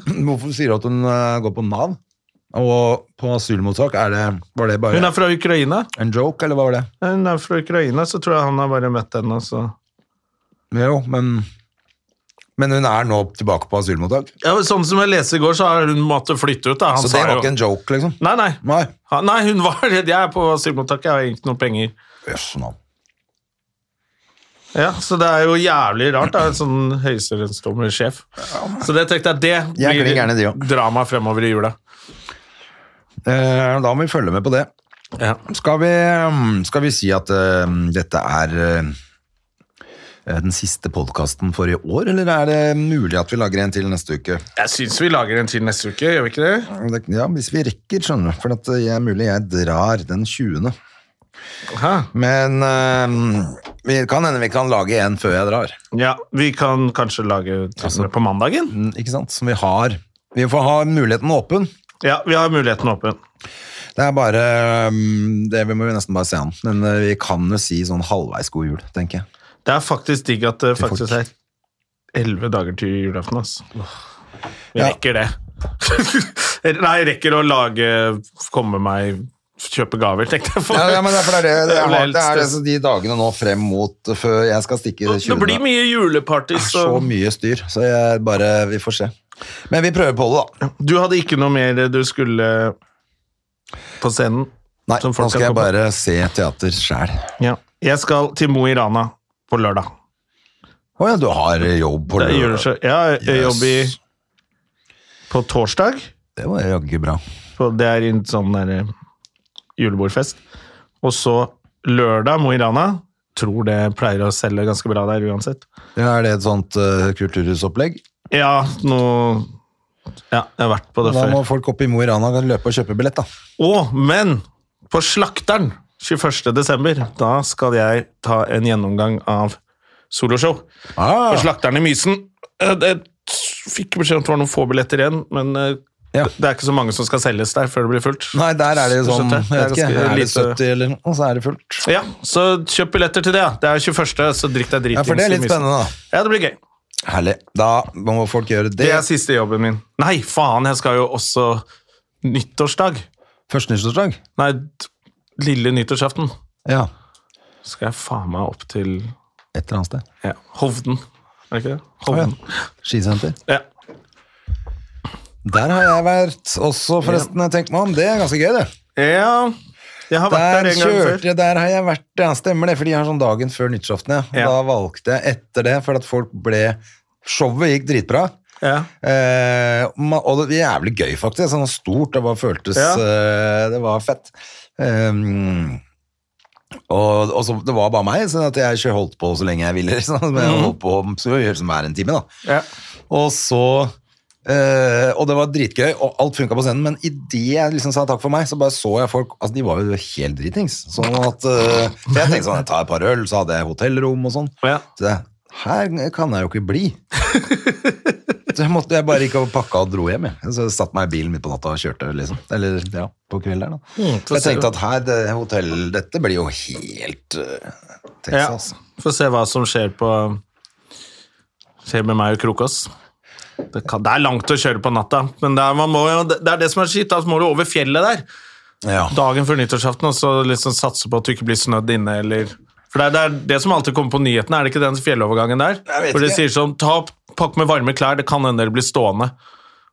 Hvorfor sier du at hun eh, går på Nav? Og på asylmottak, er det, var det bare
Hun er fra Ukraina.
en joke, eller hva var det?
Hun er fra Ukraina, så tror jeg han har bare møtt henne, og så
Jo, men Men hun er nå tilbake på asylmottak?
ja, men Sånn som jeg leste i går, så har hun måttet flytte ut, da. Han
Så
sa
det var
jo-
ikke en joke, liksom?
Nei, nei.
Nei.
Ha- Nei, hun var redd. Jeg er på asylmottaket, jeg har ikke noen penger.
Jøss, navn.
Ja, Så det er jo jævlig rart, da. En sånn høyesterettsdommersjef. Så det tenkte jeg, det
Jeg er klin gæren i de også.
drama fremover i jula.
Eh, da må vi følge med på det.
Ja.
Skal vi, mm, skal vi si at eh, dette er eh, den siste podkasten for i år, eller er det mulig at vi lager en til neste uke?
Jeg syns vi lager en til neste uke, gjør vi ikke det?
Det- Ja, hvis vi rekker, skjønner du. For at det er mulig jeg drar den 20.
Hæ?
Men eh, vi kan hende vi kan lage en før jeg drar.
Ja, vi kan kanskje lage til og med på mandagen?
Mm, Ikke sant? Som vi har. Vi får ha muligheten åpen.
Ja, vi har muligheten åpen.
Det er bare mm, Det vi må jo nesten bare se an. Men eh, vi kan jo si sånn halvveis god jul, tenker jeg.
Det er faktisk digg at det
Til folk.
faktisk er elleve dager til julaften, ass. Vi
Ja.
rekker det. Nei, jeg rekker å lage Komme meg Kjøpe gaver, tenkte jeg. for-
Ja, ja, men det er, for det, er det, det,
Jeg
er,
ble
det,
helt
er, det, er
stress.
så de dagene nå frem mot eh, før jeg skal stikke i
Det blir
20.
mye julepartys.
Så
og-
mye styr, så jeg bare Vi får se. Men vi prøver på det, da.
Du hadde ikke noe mer du skulle på scenen?
Nei,
Som
nå
folk
skal
kan
jeg
komme.
bare se teater sjæl.
Ja. Jeg skal til Mo i Rana på lørdag.
Å ja, du har jobb på
Det er
lørdag.
juleshow. Ja, jeg
Yes.
jobber i- på torsdag.
Det var jaggu bra.
på- Det er i en sånn der eh, julebordfest. Og så lørdag Mo i Rana. Tror det pleier å selge ganske bra der uansett.
Ja, er det et sånt eh, kulturhusopplegg?
Ja, nå Ja, jeg har vært på det
Da
før.
må folk opp i Mo i Rana og løpe og kjøpe billett, da.
Å, men på Slakteren 21. desember, da skal jeg ta en gjennomgang av soloshow.
Ah,
På Slakteren i Mysen. Eh, Jeg fikk beskjed om at det var noen få billetter igjen, men eh,
Ja.
det det er ikke så mange som skal selges der før det blir fullt.
Nei, der er det jo sånn
Skjønte
jeg vet
jeg. Det
ikke,
er ganske
Er det
lite-
70 eller noe, så er det fullt.
Ja, så kjøp billetter til det. ja. Det er 21., så drikk deg dritings.
Ja, for det er
i
litt
Mysen.
spennende, da.
Ja, det blir gøy.
Herlig. Da må folk gjøre det.
Det er siste jobben min. Nei, faen, jeg skal jo også nyttårsdag.
Første nyttårsdag.
Nei, t- lille nyttårsaften.
Ja.
Skal jeg faen meg opp til
Et eller annet sted.
Ja. Hovden, er det ikke det? Hovden.
Skisenter.
ja.
Der har jeg vært også, forresten. Jeg tenker meg om. Det er ganske gøy, det.
ja. Jeg har vært der,
Der
en gang
kjørte
før.
jeg, der har jeg vært, ja, stemmer det, for de har sånn dagen før nyttårsaften, ja.
Ja.
Da valgte jeg etter det, for at folk ble Showet gikk dritbra.
Ja.
Eh, ma- og det var jævlig gøy, faktisk. Sånn stort. Det bare føltes
Ja.
eh, Det var fett. Ehm, og, og så, det var bare meg, sånn at jeg ikke holdt på så lenge jeg ville. Liksom. Men
Mhm.
jeg holdt på skulle gjøre som hver en time, da.
Ja.
Og så eh, Og det var dritgøy, og alt funka på scenen, men idet jeg liksom sa takk for meg, så bare så jeg folk Altså, de var jo helt dritings. Sånn at eh, For jeg tenkte sånn, jeg tar et par øl, så hadde jeg hotellrom og sånn.
Ja.
Så jeg, her kan jeg jo ikke bli. Så jeg, måtte, jeg bare gikk og pakka og dro hjem. Jeg. Så jeg satt meg i bilen midt på natta og kjørte. liksom. Eller ja, på kvelden der, da.
så
så jeg
ser du.
tenkte at her, det, hotell, dette blir jo helt eh,
Ja.
Texas. altså.
Få se hva som skjer på Skjer med meg og Krokås. Det, kan, det er langt å kjøre på natta, men det er, man må, jo- det er det som er skitt. Da må du over fjellet der
Ja.
dagen før nyttårsaften og så liksom satse på at du ikke blir snødd inne, eller For det er, det er det som alltid kommer på nyhetene, er det ikke den fjellovergangen der?
vet
Hvor de
ikke.
sier sånn ta, Pakk med varme klær, det kan hende dere blir stående.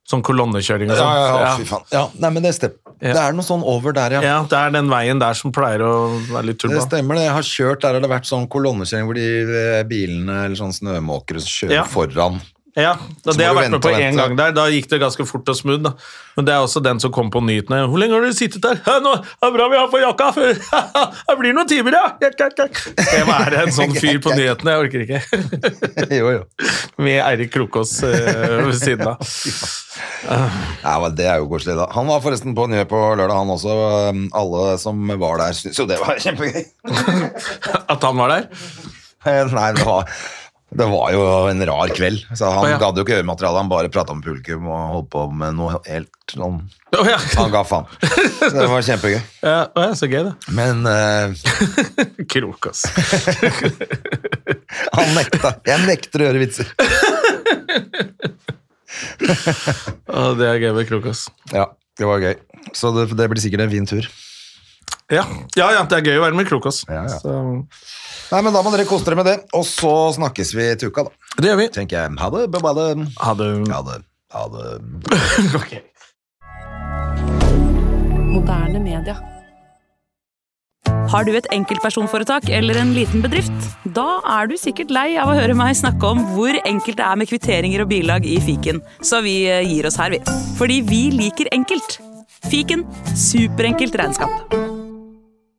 Sånn kolonnekjøring og
Ja,
sånn.
ja, ja, fy faen. Ja, nei, men det stemmer. Det er noe sånn over der, ja.
Ja, det er den veien der som pleier å være litt
Det
turba.
stemmer det. Jeg har kjørt der har det vært sånn kolonnekjøring hvor de eh, bilene eller sånn snømåkere som kjører
Ja.
foran.
Ja, da,
Så må du
det har jeg vært med
vente
på
og
én
vente.
gang der. Da gikk det ganske fort og smooth. Da. Men det er også den som kom på nyhetene. 'Hvor lenge har dere sittet der?' «Ja, 'Nå det er bra vi har på jakka før Det blir noen timer, ja! Jakk, jakk, jakk. Det var en sånn fyr på nyhetene. Jeg orker ikke.
jo, jo.
Med Eirik Krokås eh, ved siden av.
Ja, men det er jo koselig, da. Han var forresten på Njø på lørdag, han også. Um, Alle som var der, syntes jo det var kjempegøy.
At han var der.
Eh, Nei, det var, det var jo en rar kveld. Så han
Å, ja.
gadd jo ikke høremateriale, han bare prata med publikum og holdt på med noe helt sånn
Å ja.
Han ga faen. Så det var kjempegøy.
Ja, å ja, så gøy, det.
Men eh,
Krokås.
han nekta. Jeg nekter å gjøre vitser.
Å, Det er gøy med Krokås.
Ja, det var gøy. Så det, det blir sikkert en fin tur.
Ja. ja, ja, det er gøy å være med Krokås.
Ja, ja.
Så,
Nei, men da må dere kose dere med det, og så snakkes vi til uka, da.
det gjør vi.
Tenker jeg. Ha det, bye, bye.
Ha det.
Ha det. Ha det.
Ok.
Moderne media. Har du et enkeltpersonforetak eller en liten bedrift? Da er du sikkert lei av å høre meg snakke om hvor enkelt det er med kvitteringer og bilag i fiken, så vi eh, gir oss her, vi. Fordi vi liker enkelt. Fiken superenkelt regnskap.